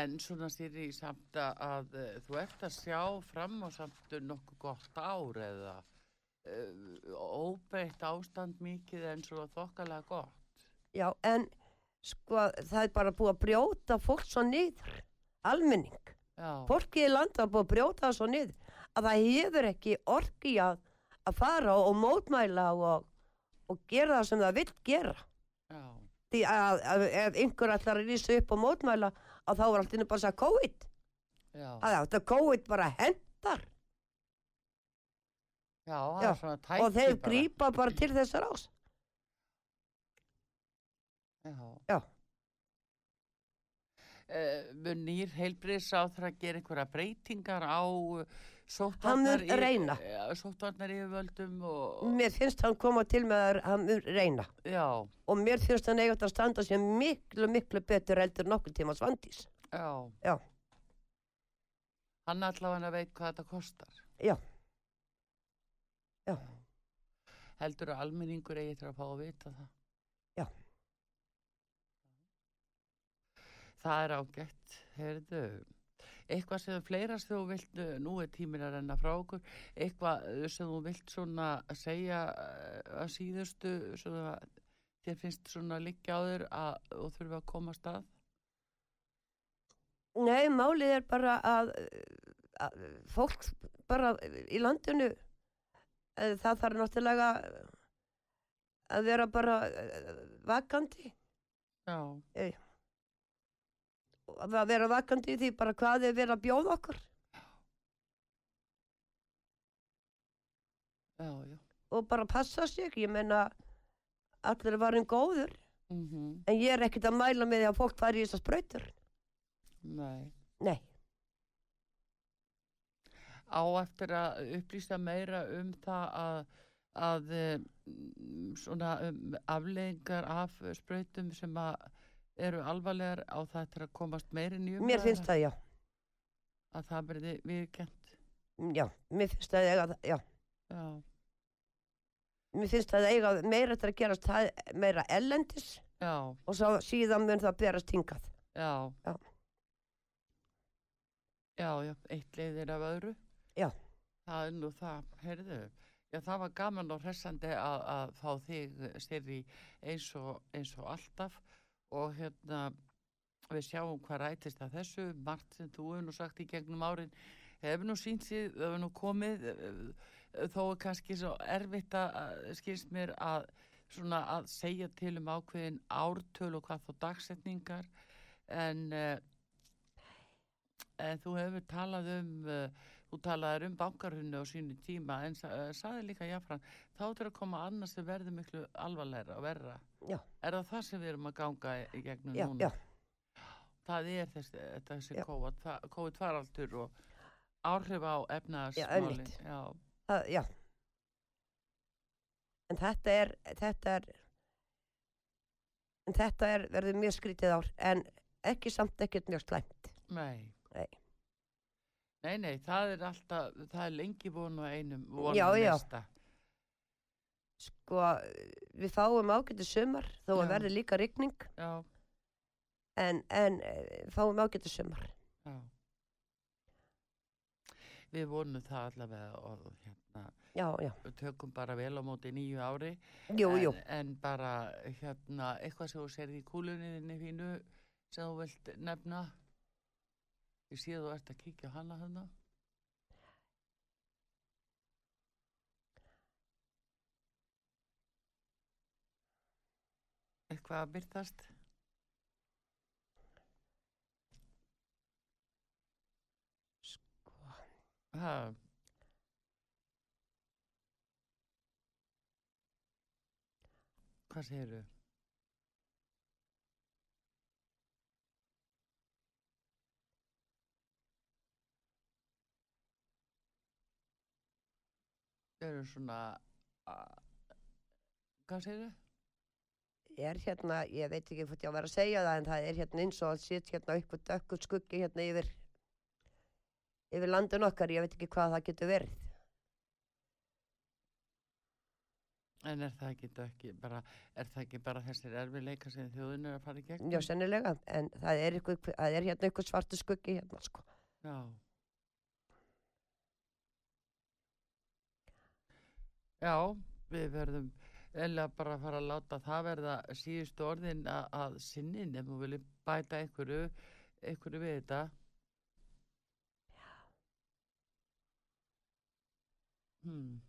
[SPEAKER 3] en svona sýri samt að, að eh, þú ert að sjá fram á samt nokkuð gott ár eða uh, óbreytt ástand mikið en svona þokkalega gott.
[SPEAKER 4] já, en sko, það er bara búið að brjóta fólk svo niður, almenning.
[SPEAKER 3] Já,
[SPEAKER 4] fólkið í landa var búið að brjóta það svo niður að það hefur ekki orki að, að fara og mótmæla og, og gera það sem það vill gera
[SPEAKER 3] já,
[SPEAKER 4] því að, að ef einhver ætlar að rýsa upp og mótmæla að þá er allt innu bara að segja COVID
[SPEAKER 3] já,
[SPEAKER 4] að þetta COVID bara hendar
[SPEAKER 3] já, það
[SPEAKER 4] já,
[SPEAKER 3] er svona tæki
[SPEAKER 4] og þeir
[SPEAKER 3] bara.
[SPEAKER 4] grípa bara til þessar ás
[SPEAKER 3] Já.
[SPEAKER 4] Já.
[SPEAKER 3] Eh, mun nýr heilbriðs á þar að gera einhverja breytingar á eh,
[SPEAKER 4] mun
[SPEAKER 3] sóttvarnar í-
[SPEAKER 4] reyna.
[SPEAKER 3] eh, sóttvarnar yfirvöldum og,
[SPEAKER 4] mér finnst hann koma til með að hann mun reyna
[SPEAKER 3] já,
[SPEAKER 4] og mér finnst hann eiga þetta að standa sér miklu miklu betur heldur en nokkur tíma svandís
[SPEAKER 3] Já.
[SPEAKER 4] Já.
[SPEAKER 3] Hann allavega veit hvað þetta kostar.
[SPEAKER 4] Já. Já.
[SPEAKER 3] Heldur að almenningur eigi til að fá að vita það.
[SPEAKER 4] Já.
[SPEAKER 3] Það er ágætt, heyrðu. Eitthvað sem fleira sem þú vilt, nú er tíminn að renna frá okkur, eitthvað eh, sem þú vilt svona segja eh, að síðustu, svona, þér finnst svona liggja á þér að þú þurfa að komast að?
[SPEAKER 4] Nei, málið er bara að, að fólk bara í landinu eh, það þarf náttúrulega að vera bara eh, vakandi
[SPEAKER 3] Já.
[SPEAKER 4] að vera vakandi í því bara hvað er verið að bjóða okkur
[SPEAKER 3] Já, já.
[SPEAKER 4] og bara passa sig ég meina allir er varin góður
[SPEAKER 3] Mm
[SPEAKER 4] en ég er ekkert að mæla með því að fólk fari í þessar sprautur
[SPEAKER 3] Nei.
[SPEAKER 4] Nei,
[SPEAKER 3] á eftir að upplýsa meira um það að, að eh, mm, svona um, afleðingar af sprautum sem að eru alvarlegar á það eftir að komast meirin í
[SPEAKER 4] mér finnst það já
[SPEAKER 3] að það verði viðkjönt.
[SPEAKER 4] já, mér finnst það eiga já,
[SPEAKER 3] Já,
[SPEAKER 4] mér finnst það eiga meira þetta að gerast það- meira ellendis
[SPEAKER 3] já,
[SPEAKER 4] og svo síðan mun það berast hingað
[SPEAKER 3] já.
[SPEAKER 4] Já.
[SPEAKER 3] Já, já, eitt leiðir af öðru.
[SPEAKER 4] Já.
[SPEAKER 3] Það er nú það, heyrðu. Já, það var gaman og hressandi að, að fá þig, Sirri, eins og, eins og alltaf og hérna við sjáum hvað rætist að þessu margt sem þú hefur nú sagt í gegnum árin hefur nú sínt sig, það hefur nú komið eh, þó er kannski svo erfitt að að skilst mér að svona að segja til um ákveðin ártöl og hvað þá dagsetningar en eh, en þú hefur talað um eh, þú talaðir um bankarhunni á sínu tíma en sa- eh, sagði líka jáfran þá þurfa að koma annars sem verður miklu alvarlegra og verra
[SPEAKER 4] Já.
[SPEAKER 3] er það það sem við erum að ganga í- í gegnum
[SPEAKER 4] já,
[SPEAKER 3] Mm, núna
[SPEAKER 4] já
[SPEAKER 3] það er þessi, þetta þessi
[SPEAKER 4] Já.
[SPEAKER 3] COVID-fa- COVID-faraldur og áhrif á
[SPEAKER 4] Já,
[SPEAKER 3] efnaðarsmálin.
[SPEAKER 4] einmitt.
[SPEAKER 3] Já,
[SPEAKER 4] það, já. En þetta er, þetta er, en þetta er, verður mjög skrítið ár, en ekki samt ekkert mjög slæmt.
[SPEAKER 3] nei.
[SPEAKER 4] Nei.
[SPEAKER 3] Nei, nei, það er alltaf, það er lengi von og einum von
[SPEAKER 4] Já,
[SPEAKER 3] og
[SPEAKER 4] já.
[SPEAKER 3] næsta.
[SPEAKER 4] Sko, við fáum ágætið sumar, þó
[SPEAKER 3] Já.
[SPEAKER 4] að verður líka rigning,
[SPEAKER 3] Já,
[SPEAKER 4] en, en eh, fáum ágætið sumar.
[SPEAKER 3] já. Við vonum það allavega og hérna,
[SPEAKER 4] já, já.
[SPEAKER 3] við tökum bara vel á móti nýju ári
[SPEAKER 4] Jú,
[SPEAKER 3] en,
[SPEAKER 4] jú,
[SPEAKER 3] en bara hérna eitthvað sem þú serði í kúlunniðinni fínu sem þú vilt nefna ég sé að þú ert að kíkja á hana þarna eitthvað að byrtast
[SPEAKER 4] sko,
[SPEAKER 3] ha, hvað segirðu? Þau eru svona a- hvað segirðu?
[SPEAKER 4] er hérna, ég veit ekki hvort ég á að vera að segja það en það er hérna eins og að sitja hérna upp og dökkur skuggi hérna yfir yfir landin okkar, ég veit ekki hvað það getur verið
[SPEAKER 3] En er það ekki, ekki bara, er það ekki bara þessir erfiðleika sem þjóðin er að fara í gegn?
[SPEAKER 4] já, sennilega, en það er, ykkur, það er hérna ykkur svartu skuggi hérna, sko
[SPEAKER 3] Já. Já, við verðum eða bara að fara að láta það verða síðustu orðin að, að sinnin ef þú viljum bæta einhverju, einhverju við þetta. Hmm.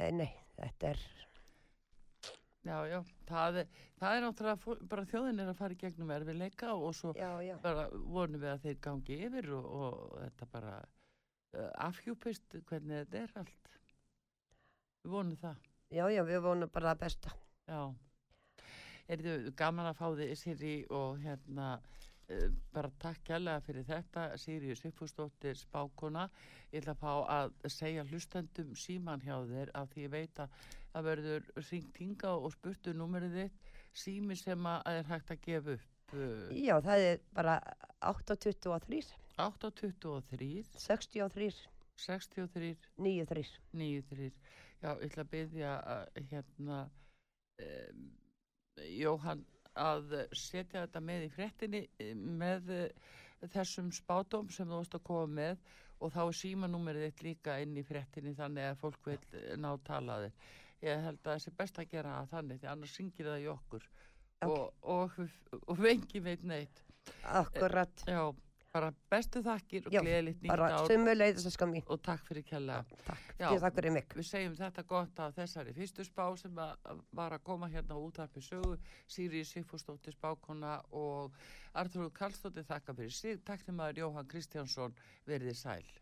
[SPEAKER 4] Eh, Nei, þetta er
[SPEAKER 3] Já, já, það er, það er náttúrulega fó- bara þjóðin er að fara í gegnum erfiðleika og svo
[SPEAKER 4] Já, já,
[SPEAKER 3] bara vonum við að þeir gangi yfir og, og þetta bara uh, afhjúpist hvernig þetta er allt við vonum það
[SPEAKER 4] já, já, við vonum bara það besta
[SPEAKER 3] já er þau gaman að fá þið Siri og hérna uh, bara takk kærlega fyrir þetta Siri Svipustóttir spákona ég ætla að fá að segja hlustendum síman hjá þér af því ég veit að það verður ringt hinga og spurtu númerið þitt sími sem að er hægt að gefa upp uh,
[SPEAKER 4] Já, það er bara 823,
[SPEAKER 3] 823
[SPEAKER 4] 63,
[SPEAKER 3] 63
[SPEAKER 4] 93
[SPEAKER 3] níu þrýr. Já, ég ætla að byggja að hérna um, Jóhann að setja þetta með í fréttinni eh, með eh, þessum spátum sem þú vorst að koma með og þá er símanúmerið eitt líka inn í fréttinni þannig að fólk vil eh, ná talaði. Ég held að þessi best að gera það þannig því annars syngir það í okkur
[SPEAKER 4] Ok.
[SPEAKER 3] og, og, og vengi veit neitt.
[SPEAKER 4] Akkurat,
[SPEAKER 3] Já, bara bestu þakkir og
[SPEAKER 4] Já,
[SPEAKER 3] gleðilegt nýtt
[SPEAKER 4] bara
[SPEAKER 3] ár
[SPEAKER 4] sumu leiðis að skam mín
[SPEAKER 3] og takk fyrir kjalla.
[SPEAKER 4] Takk,
[SPEAKER 3] Já.
[SPEAKER 4] ég þakkur í mig
[SPEAKER 3] Við segjum þetta gott að þessari fyrstu spá sem að var að koma hérna á útarpi sögu, Sýri Sigfúsdóttir spákona og Artur Karlsdóttir þakka fyrir sig, takknum aður Jóhann Kristjánsson verðið sæl.